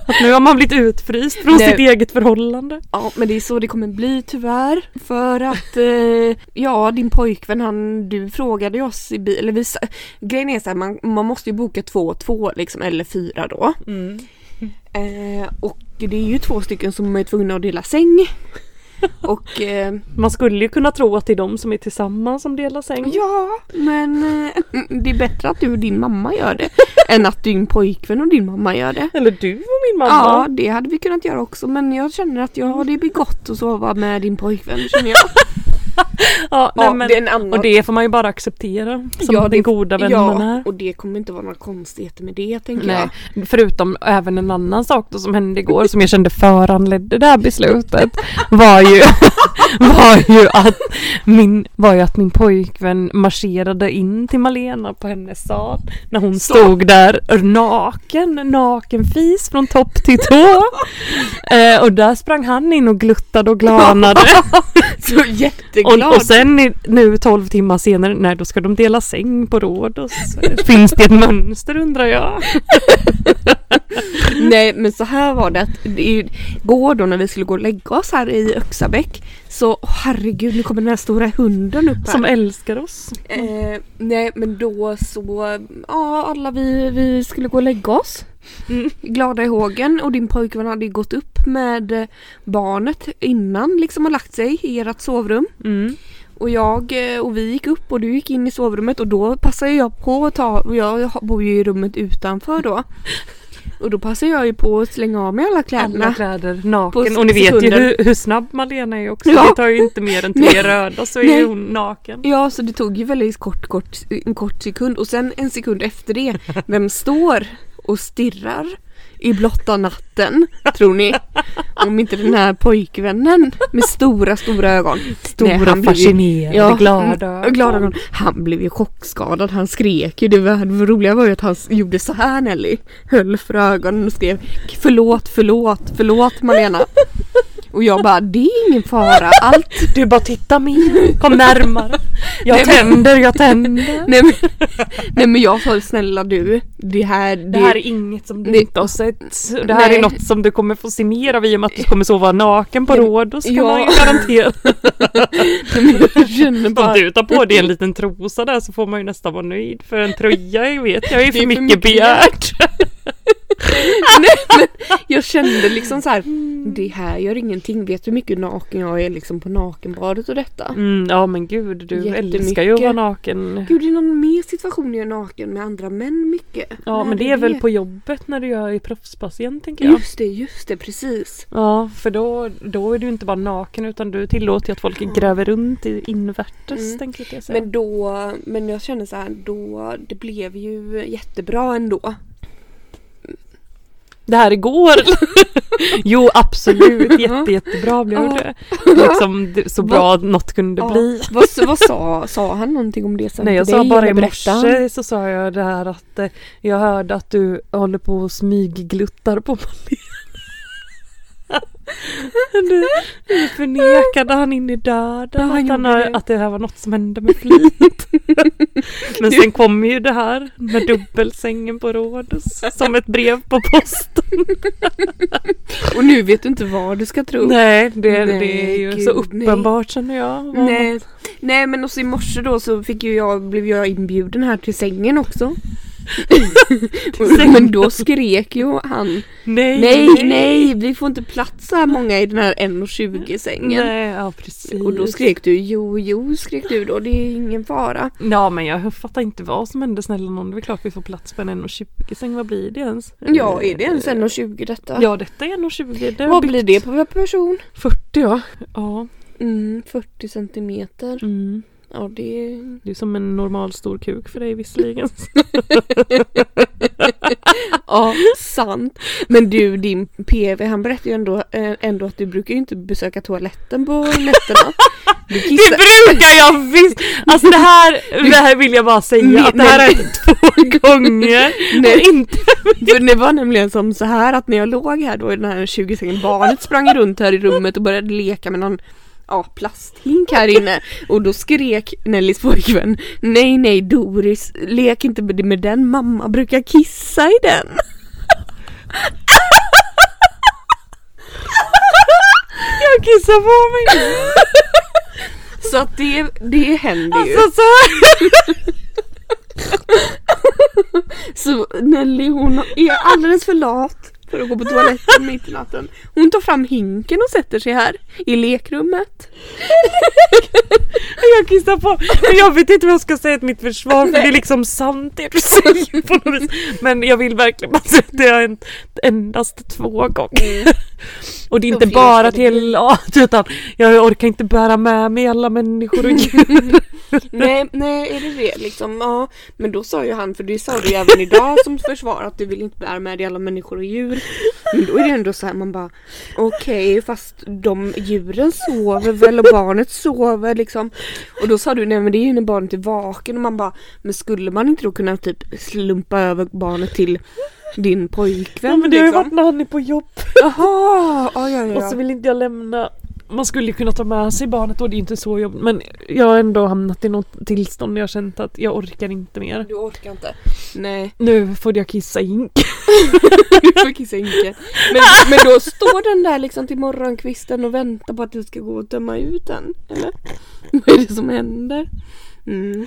S2: Att nu har man blivit utfryst från
S1: Nej.
S2: sitt eget förhållande.
S1: Ja men det är så det kommer bli tyvärr. För att eh, ja din pojkvän han, du frågade oss i bil, eller vi, sa- grejen är så här, man, man måste ju boka två och två liksom eller fyra då. Eh, och det är ju två stycken som är tvungna att dela säng. Och eh,
S2: Man skulle ju kunna tro att det är de som är tillsammans som delar säng.
S1: ja men eh, det är bättre att du och din mamma gör det än att din pojkvän och din mamma gör det.
S2: Eller du och min mamma.
S1: Ja, det hade vi kunnat göra också men jag känner att jag, det blir gott att sova med din pojkvän känner jag.
S2: Ja,
S1: Ja,
S2: nej, men,
S1: det är en annan-
S2: Och det får man ju bara acceptera som
S1: Ja,
S2: den
S1: det-
S2: goda vän
S1: ja,
S2: man är.
S1: och det kommer inte vara några konstigheter med det tänker
S2: Nej,
S1: jag.
S2: förutom även en annan sak då som hände igår som jag kände föranledde det här beslutet var ju, var ju, att, min, var ju att min pojkvän marscherade in till Malena på hennes sal när hon stod där naken, naken fis från topp till tå. eh, och där sprang han in och gluttade och glanade.
S1: Så jätteglad!
S2: Och, och sen i- nu 12 timmar senare, nej då ska de dela säng på Rhodos. Finns det ett mönster undrar jag?
S1: Nej men så här var det att det är ju, går då när vi skulle gå och lägga oss här i Öxabäck så åh, herregud nu kommer den här stora hunden upp här.
S2: Som älskar oss.
S1: eh, nej men då så, ja alla vi, vi skulle gå och lägga oss. Glada i hågen och din pojkvän hade ju gått upp med eh, barnet innan liksom och lagt sig i ert sovrum.
S2: Mm.
S1: Och jag eh, och vi gick upp och du gick in i sovrummet och då passade jag på att ta, och jag ha- bor ju i rummet utanför då. Och då passade jag ju på att slänga av mig alla kläderna.
S2: Alla kläder
S1: På
S2: naken.
S1: s-
S2: Och ni vet ju
S1: sekunden.
S2: hur, hur snabb Malena är också.
S1: Ja.
S2: Det tar ju inte mer än tre
S1: Nej.
S2: röda så
S1: Nej.
S2: är hon naken.
S1: Ja, så det tog ju väldigt kort, kort, en kort sekund och sen en sekund efter det, vem står och stirrar i blotta natten, tror ni? Om inte den här pojkvännen med stora, stora ögon. Nej,
S2: Stora
S1: han blev ju-
S2: fascinerade, glada
S1: mm, och glada ögon. Han blev ju chockskadad, han skrek ju. Det, var, det roliga var ju att han s- gjorde så här Nelly. Höll för ögonen och skrev förlåt, förlåt, förlåt Malena. Och jag bara, det är ingen fara. Allt
S2: Du bara titta mer, kom närmare. Jag
S1: Nej, men-
S2: tänder, jag tänder.
S1: Nej men, nej men jag sa snälla du, det här, det,
S2: Det här är inget som du
S1: det-
S2: inte har sett. Det här
S1: Nej.
S2: är något som du kommer få se mer av i och med att du kommer sova naken på
S1: Nej, men-
S2: Rhodos kan
S1: ja.
S2: man ju garantera.
S1: jag känner bara,
S2: Om du tar på dig en liten trosa där så får man ju nästan vara nöjd. För en tröja jag vet jag är för,
S1: för
S2: mycket,
S1: mycket
S2: begärt.
S1: jag kände liksom så här,
S2: Mm.
S1: det här gör ingenting, vet du hur mycket naken jag är liksom på nakenbadet och detta?
S2: Mm, ja men gud, du älskar ju
S1: Jättemycket.
S2: att vara naken.
S1: Gud det är någon mer situation jag är naken med andra män mycket.
S2: Ja
S1: När
S2: men det är väl på jobbet när du gör i proffspass igen tänker jag.
S1: Just det, just det, precis.
S2: Ja för då, då är du inte bara naken utan du tillåter ju att folk gräver runt i invärtes
S1: Mm.
S2: tänker jag säga.
S1: Men då, men jag känner så här, då, det blev ju jättebra ändå.
S2: Det här igår! jo absolut, jätte, jättebra blev
S1: Ja.
S2: det. Liksom, det- så bra något kunde
S1: Ja.
S2: bli.
S1: Vad, vad sa, sa han någonting om det sen
S2: Nej jag
S1: till
S2: sa
S1: dig,
S2: bara i
S1: eller berättade han?
S2: morse så sa jag det här att eh, jag hörde att du håller på och smyggluttar på Malena. Nu- Nu förnekade han in i döden
S1: Ja, han
S2: att, han
S1: gjorde
S2: har,
S1: det.
S2: att det här var något som hände med flit. Men sen kommer ju det här med dubbelsängen på Rhodos som ett brev på posten.
S1: Och nu vet du inte vad du ska tro.
S2: Nej, det,
S1: Nej,
S2: det är ju
S1: gud,
S2: så uppenbart känner jag. Vad-
S1: Nej. Nej men också i morse då så fick ju jag, blev jag inbjuden här till sängen också. men då skrek ju han
S2: nej,
S1: Nej nej vi får inte plats så här många i den här 1,20 sängen.
S2: Nej, ja precis.
S1: Och då skrek du jo jo skrek du då det är ingen fara.
S2: Ja men jag fattar inte vad som hände snälla någon. Det är klart vi får plats på en 1,20 säng. Vad blir det ens?
S1: Ja är det ens 1,20 detta?
S2: Ja detta är 1,20. Det har
S1: Vad
S2: byggt
S1: blir det på person?
S2: 40 ja. Ja.
S1: Mm, 40 centimeter.
S2: Mm.
S1: Ja det är...
S2: Det är som en normal stor kuk för dig visserligen.
S1: Ja, sant. Men du, din PV, han berättade ju ändå, eh, ändå att du brukar ju inte besöka toaletten på nätterna. Du
S2: Det brukar jag visst! Alltså det här, det här vill jag bara säga att det här har hänt två gånger.
S1: Nej.
S2: Inte
S1: För det var nämligen som så här att när jag låg här då i den här 20-sängen, barnet sprang runt här i rummet och började leka med någon ja, plasthink här inne och då skrek Nellys pojkvän Nej nej Doris, lek inte med med den, mamma brukar kissa i den.
S2: jag kissar på mig nu.
S1: Så att det, det händer ju.
S2: Alltså så här.
S1: Så Nelly hon är alldeles för lat för att gå på toaletten mitt i natten. Hon tar fram hinken och sätter sig här i lekrummet.
S2: Jag kissar på men Jag vet inte vad jag ska säga till mitt försvar för det är liksom sant det du säger på något vis. Men jag vill verkligen bara säga att det har hänt endast två gånger.
S1: Mm.
S2: Och det är inte
S1: fler
S2: bara
S1: ska det
S2: till art utan jag orkar inte bära med mig alla människor och djur.
S1: Nej, nej är det det liksom? Ja. Men då sa ju han, för det sa du ju även idag som försvar att du vill inte bära med dig alla människor och djur. Men då är det ändå så här man bara okej fast de djuren sover väl och barnet sover liksom. Och då sa du nej men det är ju när barnet är vaken och man bara men skulle man inte då kunna typ slumpa över barnet till din pojkvän?
S2: Ja, men det har ju
S1: liksom?
S2: varit när han är på jobb
S1: Jaha! Ja, ja, ja.
S2: och så vill inte jag lämna. Man skulle ju kunna ta med sig barnet och det är inte så jobbigt men jag har ändå hamnat i något tillstånd där jag har känt att jag orkar inte mer.
S1: Du orkar inte. Nej,
S2: Nu får jag kissa in.
S1: du får kissa inte. Men, men då står den där liksom till morgonkvisten och väntar på att du ska gå och tömma ut den. Eller? Vad är det som händer? Mm.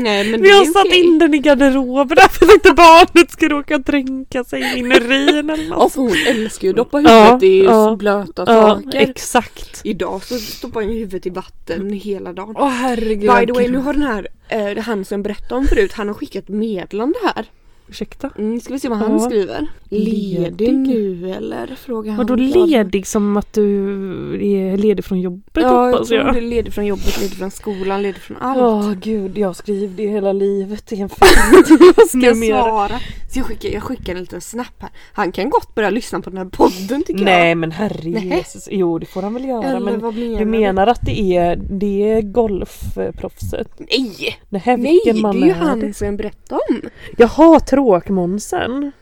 S1: Nej, men
S2: Vi
S1: det
S2: har
S1: är
S2: satt
S1: okej.
S2: in den i garderoben där för att inte barnet ska råka dränka sig i min urin eller
S1: Ja,
S2: något.
S1: för hon älskar ju att doppa huvudet
S2: Ja,
S1: i
S2: ja,
S1: blöta
S2: Ja,
S1: saker.
S2: exakt.
S1: Idag så stoppar hon ju huvudet i vatten hela dagen.
S2: Åh herregud.
S1: By the way, nu har den här, eh, han som jag berättade om förut, han har skickat meddelande här.
S2: Ursäkta?
S1: Mm, ska vi se vad han
S2: Ja.
S1: skriver. Ledig
S2: Ledig.
S1: nu eller? Frågar han.
S2: Vadå
S1: glad.
S2: ledig som att du är ledig från jobbet
S1: Ja, jag
S2: hoppas
S1: tror
S2: jag?
S1: det är ledig från jobbet, ledig från skolan, ledig från allt.
S2: Åh gud, jag skrev det hela livet. Det är en fint. jag
S1: Ska jag
S2: mer.
S1: svara? Så jag skickar, jag skickar en liten snap här. Han kan gott börja lyssna på den här podden tycker
S2: Nej men herre
S1: Nej.
S2: Jesus. Jo det får han väl
S1: jag.
S2: göra
S1: Eller
S2: men
S1: vad menar
S2: du menar att det är, det är golfproffset?
S1: Nej!
S2: Nähä
S1: Nej, det
S2: vilken man
S1: är ju
S2: är
S1: han
S2: det?
S1: som jag berättade om.
S2: Jaha tråkmånsen.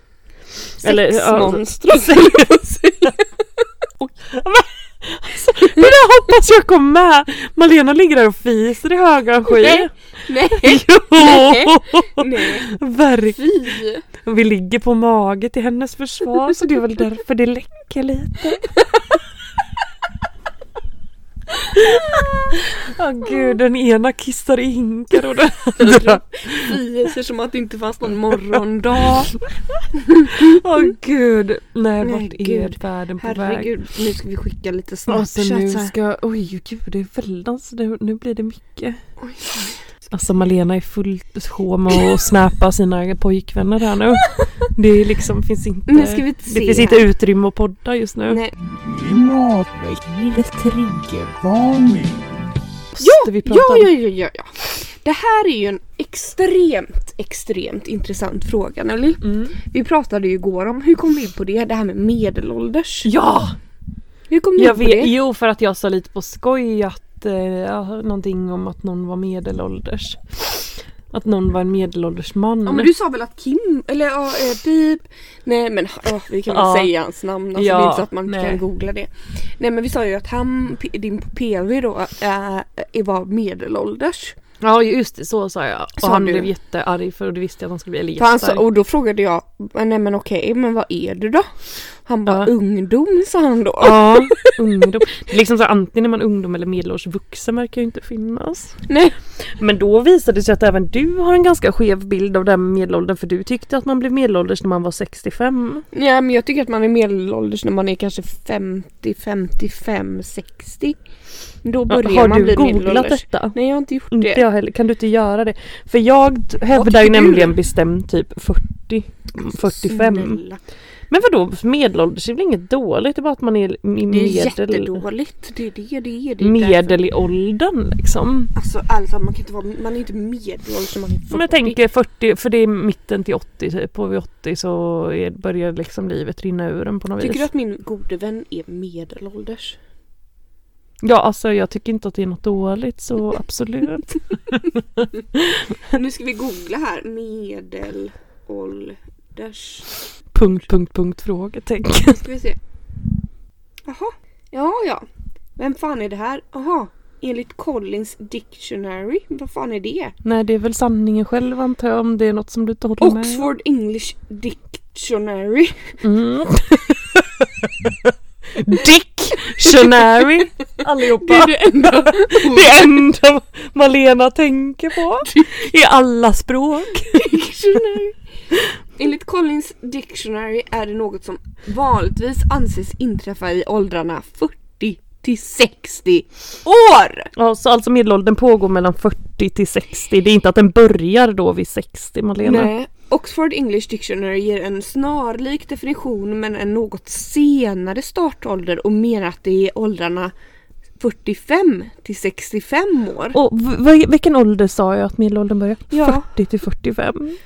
S2: Eller, ja, alltså,
S1: Sexmonstret höll jag på att säga.
S2: Det där hoppas jag kom med! Malena ligger där och fiser i högan sky.
S1: Nej, Nej,
S2: Jo,
S1: nej,
S2: verkligen.
S1: fy!
S2: Vi ligger på mage till hennes försvar så det är väl därför det läcker lite. Åh gud, den ena kissar i hinkar och den andra...
S1: Fy ser som att det inte fanns någon morgondag.
S2: Åh gud, nej
S1: Nej,
S2: vart
S1: gud.
S2: är världen på väg?
S1: Herregud, nu ska vi skicka lite
S2: Alltså nu
S1: snapchat här.
S2: ska, oj gud det är väldans, nu, nu blir det mycket. Alltså Malena är fullt sjå med att snäpa sina pojkvänner här nu. Det är liksom, finns inte,
S1: Nu ska vi se
S2: det finns inte
S1: här.
S2: utrymme att podda just nu.
S1: Nej.
S5: Klimatväggivet triggervarning.
S2: Måste vi prata
S1: Ja,
S2: om-
S1: ja, ja, ja, ja. Det här är ju en extremt, extremt intressant fråga Nelly.
S2: Mm.
S1: Vi pratade ju igår om, hur kom vi in på det? Det här med medelålders.
S2: ja!
S1: Hur kom du
S2: Jag
S1: in på
S2: vet,
S1: det?
S2: jo för att jag sa lite på skoj att eh, ja, någonting om att någon var medelålders. Att någon var en medelålders man.
S1: Ja men du sa väl att Kim, eller ja, eh, pip. Nej men ja, vi kan väl
S2: Ja.
S1: säga hans namn. Alltså,
S2: Ja,
S1: det är inte så att man
S2: nej.
S1: kan googla det. Nej men vi sa ju att han, P- din PV då, äh, är- var medelålders.
S2: Ja just det, så sa jag. Och
S1: Sa
S2: han
S1: du.
S2: blev jättearg för och det visste jag att han skulle bli. Eller
S1: För han sa,
S2: jättearg.
S1: och då frågade jag, "Eh, nej men okej, men vad är du då? Han
S2: Ja.
S1: bara, ungdom sa han då.
S2: Ja, ungdom. Det är liksom så här, antingen är man ungdom eller medelålders vuxen verkar ju inte finnas.
S1: Nej.
S2: Men då visade det sig att även du har en ganska skev bild av det här med medelåldern för du tyckte att man blev medelålders när man var 65.
S1: Ja, men jag tycker att man är medelålders när man är kanske 50, 55, 60. Då börjar
S2: har
S1: man
S2: du
S1: bli
S2: googlat Mm,
S1: medelålders.
S2: detta?
S1: Nej, jag har inte gjort
S2: Inte
S1: det.
S2: jag heller. Kan du inte göra det? För jag hävdar ju
S1: tycker du?
S2: nämligen bestämt typ 40, 45.
S1: Snälla.
S2: Men vadå, medelålders är väl inget dåligt? Det är bara att man är i
S1: Det är
S2: medel,
S1: jättedåligt. Det är det det är. Det är därför-
S2: medel i åldern liksom.
S1: Alltså alltså man kan inte vara, man är inte medelålders när man är 40.
S2: Men jag tänker 40, för det är mitten till 80 typ. Och vid 80 så är, börjar liksom livet rinna ur en på något
S1: Tycker
S2: vis.
S1: du att min gode vän är medelålders?
S2: Ja, alltså jag tycker inte att det är något dåligt så absolut.
S1: Nu ska vi googla här. Medelålders.
S2: punkt, punkt, punkt, frågetecken.
S1: Nu ska vi se. Jaha. Ja, ja. Vem fan är det här? Jaha. Enligt Collins Dictionary. Vad fan är det?
S2: Nej, det är väl sanningen själv antar jag om det är något som du inte håller med
S1: Oxford English Dictionary.
S2: om. Mm. Dictionary allihopa. Det är det enda, det enda Malena tänker på i alla språk.
S1: Dictionary. Enligt Collins Dictionary är det något som vanligtvis anses inträffa i åldrarna 40 till 60 år.
S2: Ja, så alltså medelåldern pågår mellan 40 till 60. Det är inte att den börjar då vid 60 Malena.
S1: Nej. Oxford English Dictionary ger en snarlik definition men en något senare startålder och menar att det är åldrarna 45 till 65 år.
S2: Och v- vad- vilken ålder sa jag att medelåldern börjar?
S1: Ja.
S2: 40 till 45.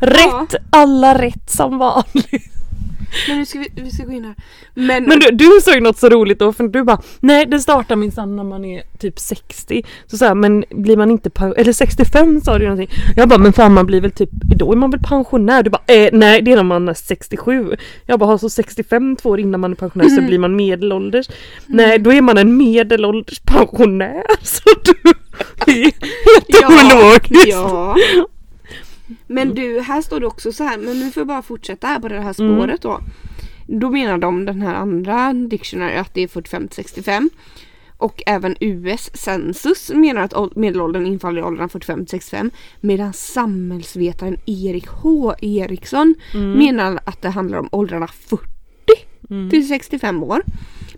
S2: Rätt! Alla rätt som vanligt.
S1: Men nu ska vi, vi ska gå in här. Men,
S2: Men du, du sa ju något så roligt då för du bara Nej den startar minsann när man är typ 60. Så så här, men blir man inte pensionär? Eller 65 sa du ju någonting. Jag bara men fan man blir väl typ då är man väl pensionär? Du bara eh, nej det är när man är 67. Jag bara har så 65 två år innan man är pensionär så blir man medelålders. Nej då är man en medelålders pensionär. Så du det är helt ologiskt.
S1: Ja. Men du, här står det också så här, men nu får jag bara fortsätta här på det här spåret då. Då menar de den här andra dictionary att det är 45 till 65. Och även US Census menar att åld- medelåldern infaller i åldern 45 till 65. Medan samhällsvetaren Erik H Eriksson menar att det handlar om åldrarna 40 till 65 år.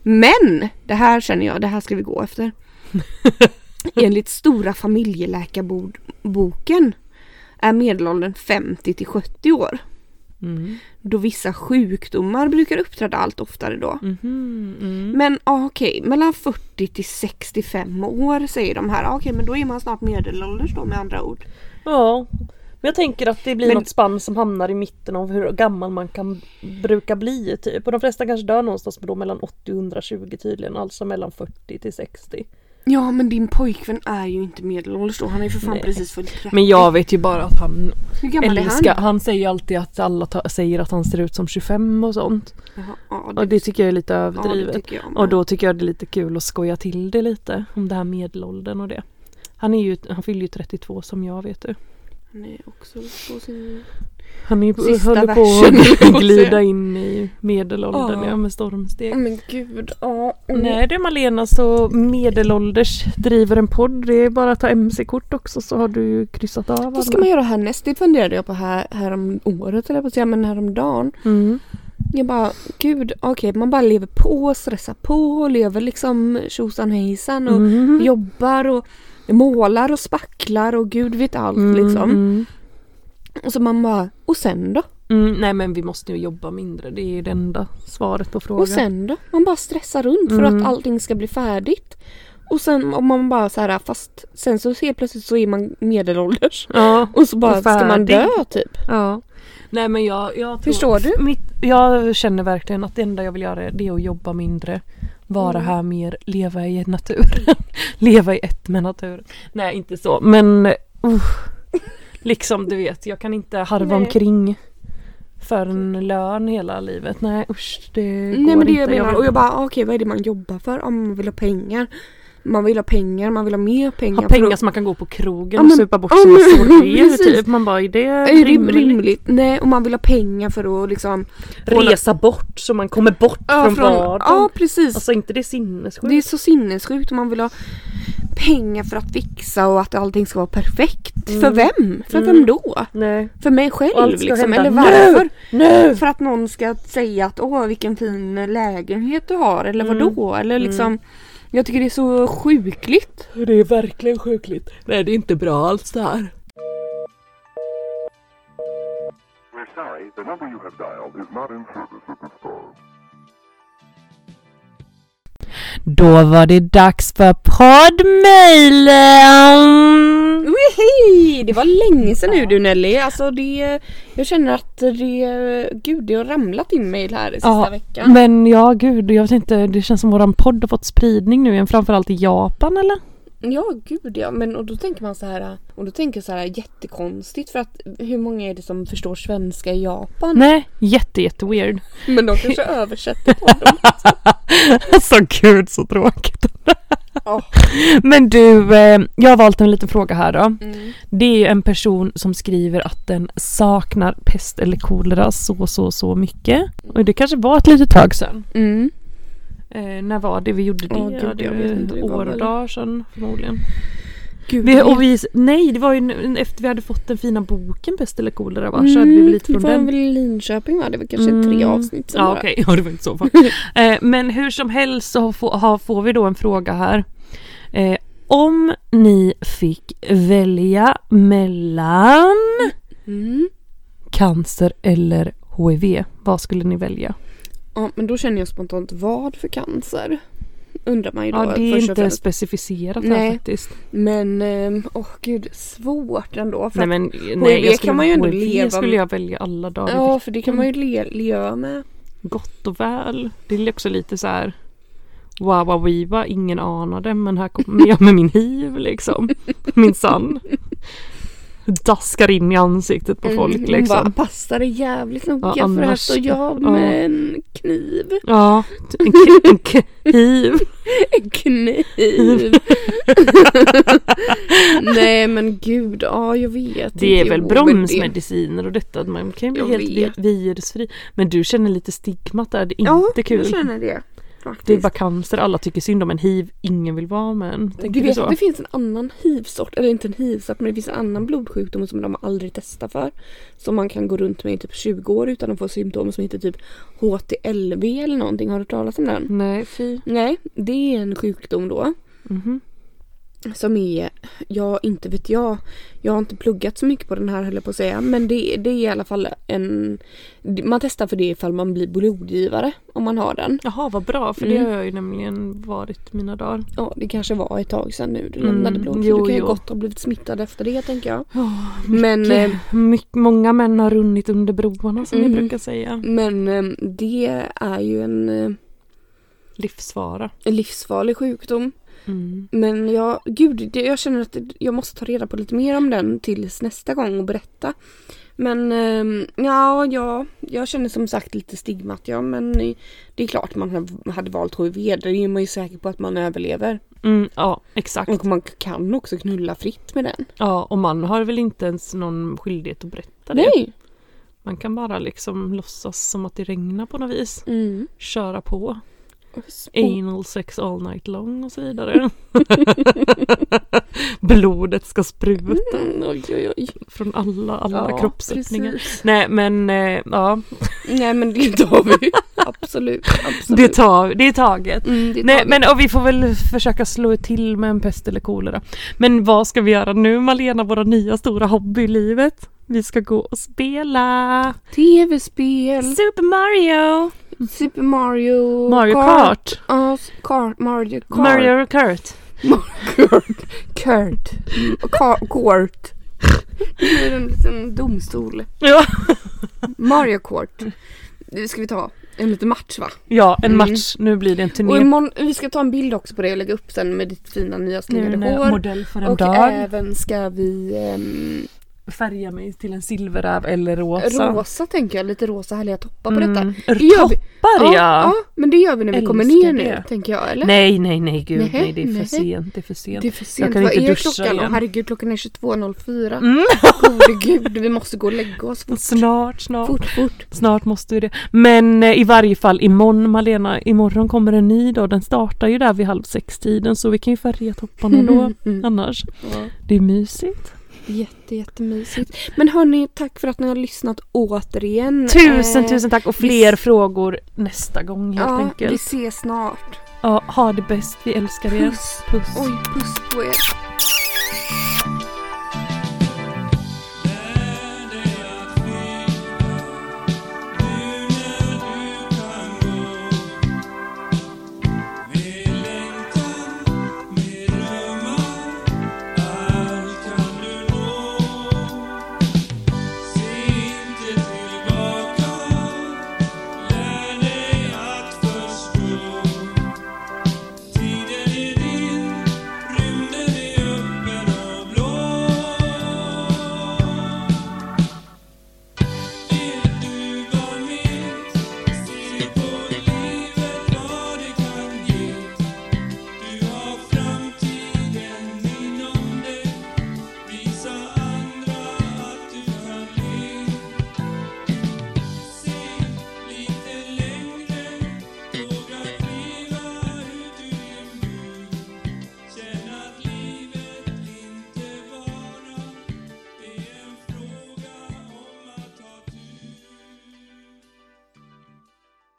S1: Men det här känner jag, det här ska vi gå efter. Enligt Stora familjeläkarboken är medelåldern 50 till 70 år. Då vissa sjukdomar brukar uppträda allt oftare då. Men ah, okej, mellan 40 till 65 år säger de här. Ah, okej, men då är man snart medelålders då med andra ord.
S2: Ja. Men jag tänker att det blir
S1: Men-
S2: något spann som hamnar i mitten av hur gammal man kan bruka bli typ. Och de flesta kanske dör någonstans då mellan 80 och 120 tydligen. Alltså mellan 40 till 60.
S1: Ja, men din pojkvän är ju inte medelålders då. Han är ju för fan
S2: Nej.
S1: precis fyllt 30.
S2: Men jag vet ju bara att han
S1: Hur gammal
S2: älskar,
S1: är han?
S2: han? säger alltid att alla ta- säger att han ser ut som 25 och sånt.
S1: Jaha, ja, det,
S2: Och det tycker jag är lite
S1: ja, det
S2: överdrivet.
S1: tycker jag med.
S2: Och då tycker jag det är lite kul att skoja till det lite om det här medelåldern och det. Han, är ju, han fyller ju 32 som jag vet du.
S1: Han är också på sin...
S2: Han är ju på,
S1: Sista
S2: höll på
S1: versen.
S2: att glida in i medelåldern
S1: Ja.
S2: ja, med stormsteg.
S1: Åh, men gud, ja. Mm.
S2: Nej du Malena så medelålders driver en podd. Det är bara att ta mc-kort också så har du ju kryssat av alla.
S1: Vad ska man göra härnäst? Det funderade jag på här, härom året eller på att säga, men häromdagen.
S2: Mm.
S1: Jag bara, gud, okej, man bara lever på, stressar på, och lever liksom tjosan hejsan och
S2: Mm.
S1: jobbar och målar och spacklar och gud vet allt liksom.
S2: Mm.
S1: Och så man bara, och sen då?
S2: Mm. Nej men vi måste ju jobba mindre. Det är ju det enda svaret på frågan.
S1: Och sen då? Man bara stressar runt för
S2: Mm.
S1: att allting ska bli färdigt. Och sen om man bara så här, fast sen så helt plötsligt så är man medelålders.
S2: Ja.
S1: Och så bara,
S2: Och
S1: ska man
S2: färdig.
S1: dö typ?
S2: ja. Nej men jag, jag tror...
S1: Förstår du?
S2: Mitt, jag känner verkligen att det enda jag vill göra är- det är att jobba mindre.
S1: Mm.
S2: Vara här mer, leva i naturen. leva i ett med naturen. Nej inte så men uh, liksom du vet jag kan inte harva
S1: Nej.
S2: omkring för en lön hela livet. Nej usch det går
S1: Nej men det
S2: inte.
S1: jag menar.
S2: vill
S1: Och jag bara, ah, okej vad är det man jobbar för? Om man vill ha pengar. Man vill ha pengar, man vill ha mer pengar.
S2: ha
S1: för
S2: pengar
S1: att-
S2: som man kan gå på krogen
S1: Ja, men-
S2: och supa bort
S1: ja,
S2: sina
S1: men-
S2: sorger
S1: precis.
S2: typ. Man bara är det
S1: är rim, rimligt. Nej, och man vill ha pengar för att liksom...
S2: Resa bort så man kommer bort
S1: Ja,
S2: från,
S1: från-
S2: vardagen.
S1: Ja, precis.
S2: Alltså inte det är
S1: det är
S2: sinnessjukt.
S1: så sinnessjukt och man vill ha pengar för att fixa och att allting ska vara perfekt. För vem? För vem då?
S2: Nej.
S1: För mig själv
S2: Mm. Allt ska
S1: liksom,
S2: hända nu!
S1: eller varför?
S2: Nu!
S1: För att någon ska säga att åh vilken fin lägenhet du har eller
S2: Mm.
S1: vadå? Eller liksom... Jag tycker det är så sjukligt.
S2: Det är verkligen sjukligt. Nej, det är inte bra alls det här.
S6: Remember are sorry, the number you have dialed is not in service at this time.
S2: Då var det dags för poddmailen!
S1: Wihey! Det var länge sedan nu du Nelly. Alltså det, jag känner att det, gud det har ramlat in mail här sista
S2: Ja,
S1: veckan.
S2: Men ja, gud, jag vet inte, det känns som våran podd har fått spridning nu igen, framförallt i Japan
S1: Mm.
S2: eller?
S1: Ja gud ja, men och då tänker man så här och då tänker jag så här jättekonstigt för att hur många är det som förstår svenska i Japan?
S2: Nej, jätte, jätte weird.
S1: Men de kanske översätter podden.
S2: Alltså gud så tråkigt.
S1: Ja.
S2: Men du, eh, jag har valt en liten fråga här då.
S1: Mm.
S2: Det är ju en person som skriver att den saknar pest eller kolera så, så, så mycket. Och det kanske var ett litet tag sedan.
S1: Mm.
S2: Eh, när var det vi gjorde det?
S1: Åh, gud,
S2: Ja,
S1: jag vet inte.
S2: det
S1: Det
S2: var
S1: var
S2: år och
S1: väl-
S2: dagar sedan förmodligen.
S1: Gud,
S2: Vi,
S1: det-
S2: och vi, nej, det var ju nu- efter vi hade fått den fina boken Pest eller kolera va? Körde vi väl lite från
S1: Mm, det var
S2: den?
S1: väl i Linköping va? Det var kanske tre
S2: Mm.
S1: avsnitt sedan
S2: Ja
S1: bara.
S2: okej, ja, det var inte så farligt. eh, men hur som helst så får, har- får vi då en fråga här. Eh, om ni fick välja mellan
S1: Mm.
S2: cancer eller HIV, vad skulle ni välja?
S1: Ja men då känner jag spontant vad för cancer? Undrar man ju då
S2: Ja, det är
S1: först och
S2: inte
S1: främst.
S2: specificerat här
S1: Nej.
S2: faktiskt.
S1: Men ehm, åh gud svårt ändå. För
S2: Nej
S1: att-
S2: men nej, jag skulle,
S1: kan man ju ändå
S2: HIV
S1: leva
S2: skulle
S1: med.
S2: jag välja alla dagar.
S1: Ja, för det
S2: Mm.
S1: kan man ju le, leva med.
S2: Gott och väl. Det är också lite så här Wawa wiwa, ingen anade men här kommer jag med min hiv liksom. Min sann. Daskar in i ansiktet på folk
S1: Mm,
S2: liksom.
S1: Hon bara, passa dig jävligt noga
S2: Ja,
S1: för här
S2: annars-
S1: står jag
S2: ja.
S1: med en kniv.
S2: Ja, en, k- en k- hiv.
S1: En kniv! Nej men gud, ja jag vet
S2: Det
S1: inte.
S2: är väl
S1: Jo, men det-
S2: bromsmediciner och detta. Man kan ju
S1: Jag
S2: bli helt
S1: vet.
S2: vi- virusfri. Men du känner lite stigmat där. Det är
S1: Ja,
S2: inte kul.
S1: jag känner det.
S2: Det är
S1: Faktiskt.
S2: bara cancer alla tycker synd om en hiv ingen vill vara med en. Tänker
S1: Du
S2: du
S1: vet
S2: så?
S1: att det finns en annan hivsort, eller inte en hivsort men det finns en annan blodsjukdom som de aldrig testar för. Som man kan gå runt med i typ 20 år utan att få symptom som heter typ HTLV eller någonting. Har du hört talas om den?
S2: Nej, fy.
S1: Nej, det är en sjukdom då.
S2: Mhm.
S1: Som är, ja inte vet jag. Jag har inte pluggat så mycket på den här höll jag på att säga. Men det, det är i alla fall en... Man testar för det ifall man blir blodgivare. Om man har den.
S2: Jaha, vad bra. För det
S1: Mm.
S2: har jag ju nämligen varit mina dagar.
S1: Ja det kanske var ett tag sedan nu du
S2: Mm,
S1: lämnade blod. så
S2: jo,
S1: du kan ju
S2: jo.
S1: gott ha blivit smittad efter det tänker jag.
S2: Ja,
S1: Men, eh,
S2: Myck, många män har runnit under broarna som vi
S1: Mm.
S2: brukar säga.
S1: men eh, det är ju en eh,
S2: Livsfara.
S1: livsfarlig sjukdom.
S2: Mm.
S1: Men jag, gud, det, jag känner att det- jag måste ta reda på lite mer om den tills nästa gång och berätta. Men ehm, ja, ja, jag känner som sagt lite stigmat ja, men eh, det är klart man ha- hade valt HIV, då är man ju säker på att man överlever.
S2: Mm, ja, exakt.
S1: Och man kan också knulla fritt med den.
S2: Ja, och man har väl inte ens någon skyldighet att berätta det.
S1: Nej!
S2: Man kan bara liksom låtsas som att det regnar på något vis.
S1: Mm.
S2: Köra på.
S1: Och,
S2: Anal sex all night long och så vidare. Blodet ska spruta
S1: mm, oj, oj, oj.
S2: från alla, alla
S1: Ja,
S2: kroppsöppningar.
S1: precis.
S2: Nej men eh, ja,
S1: Nej men det tar vi. absolut, absolut.
S2: det, tar, det är taget.
S1: Mm, det tar
S2: Nej
S1: vi.
S2: men och vi får väl försöka slå till med en pest eller kolera. Men vad ska vi göra nu Malena, våra nya stora hobby i livet? Vi ska gå och spela
S1: Tv-spel,
S2: Super Mario!
S1: Super Mario,
S2: Mm. Mario Kart!
S1: Ja, Kart, Mario Kart.
S2: Mario Kart!
S1: Kurt. Kurt. Ka- Kurt. Det är en liten domstol.
S2: Ja,
S1: Mario Kart. Nu ska vi ta en liten match va?
S2: ja en
S1: Mm.
S2: match. Nu blir det en
S1: Och
S2: turné.
S1: imorgon, vi ska ta en bild också på det och lägga upp sen med ditt fina nya
S2: Nu
S1: snyggade
S2: när jag är
S1: hår.
S2: modell för en
S1: Och eh,
S2: dag.
S1: även ska vi ehm,
S2: Färga mig till en silverräv eller rosa.
S1: rosa tänker jag, lite rosa härliga toppar på detta.
S2: Mm.
S1: Det gör vi.
S2: Toppar
S1: Ja,
S2: ja.
S1: ja, men det gör vi när vi
S2: Älskar
S1: kommer ner
S2: det.
S1: nu tänker jag eller?
S2: Nej, nej, nej gud nej,
S1: Nej,
S2: det är för
S1: nej.
S2: sent. Det är för sent.
S1: Det är för sent.
S2: kan
S1: Vad
S2: inte
S1: är
S2: duscha
S1: klockan?
S2: igen.
S1: Åh, herregud klockan är 22.04.
S2: Mm.
S1: Gode gud, vi måste gå och lägga oss fort.
S2: Snart, snart.
S1: Fort, fort.
S2: Snart måste vi det. Men eh, i varje fall imorgon Malena, imorgon kommer en ny dag. Den startar ju där vid halv sex-tiden så vi kan ju färga topparna då annars.
S1: Ja.
S2: Det är mysigt.
S1: Jätte, jättemysigt. Men hörni, tack för att ni har lyssnat återigen.
S2: Tusen,
S1: Eh,
S2: tusen tack och fler
S1: vi-
S2: frågor nästa gång helt
S1: Ja, vi
S2: enkelt.
S1: ses snart.
S2: Ja, ha det bäst, vi älskar er.
S1: Puss.
S2: Puss.
S1: Oj, puss på er.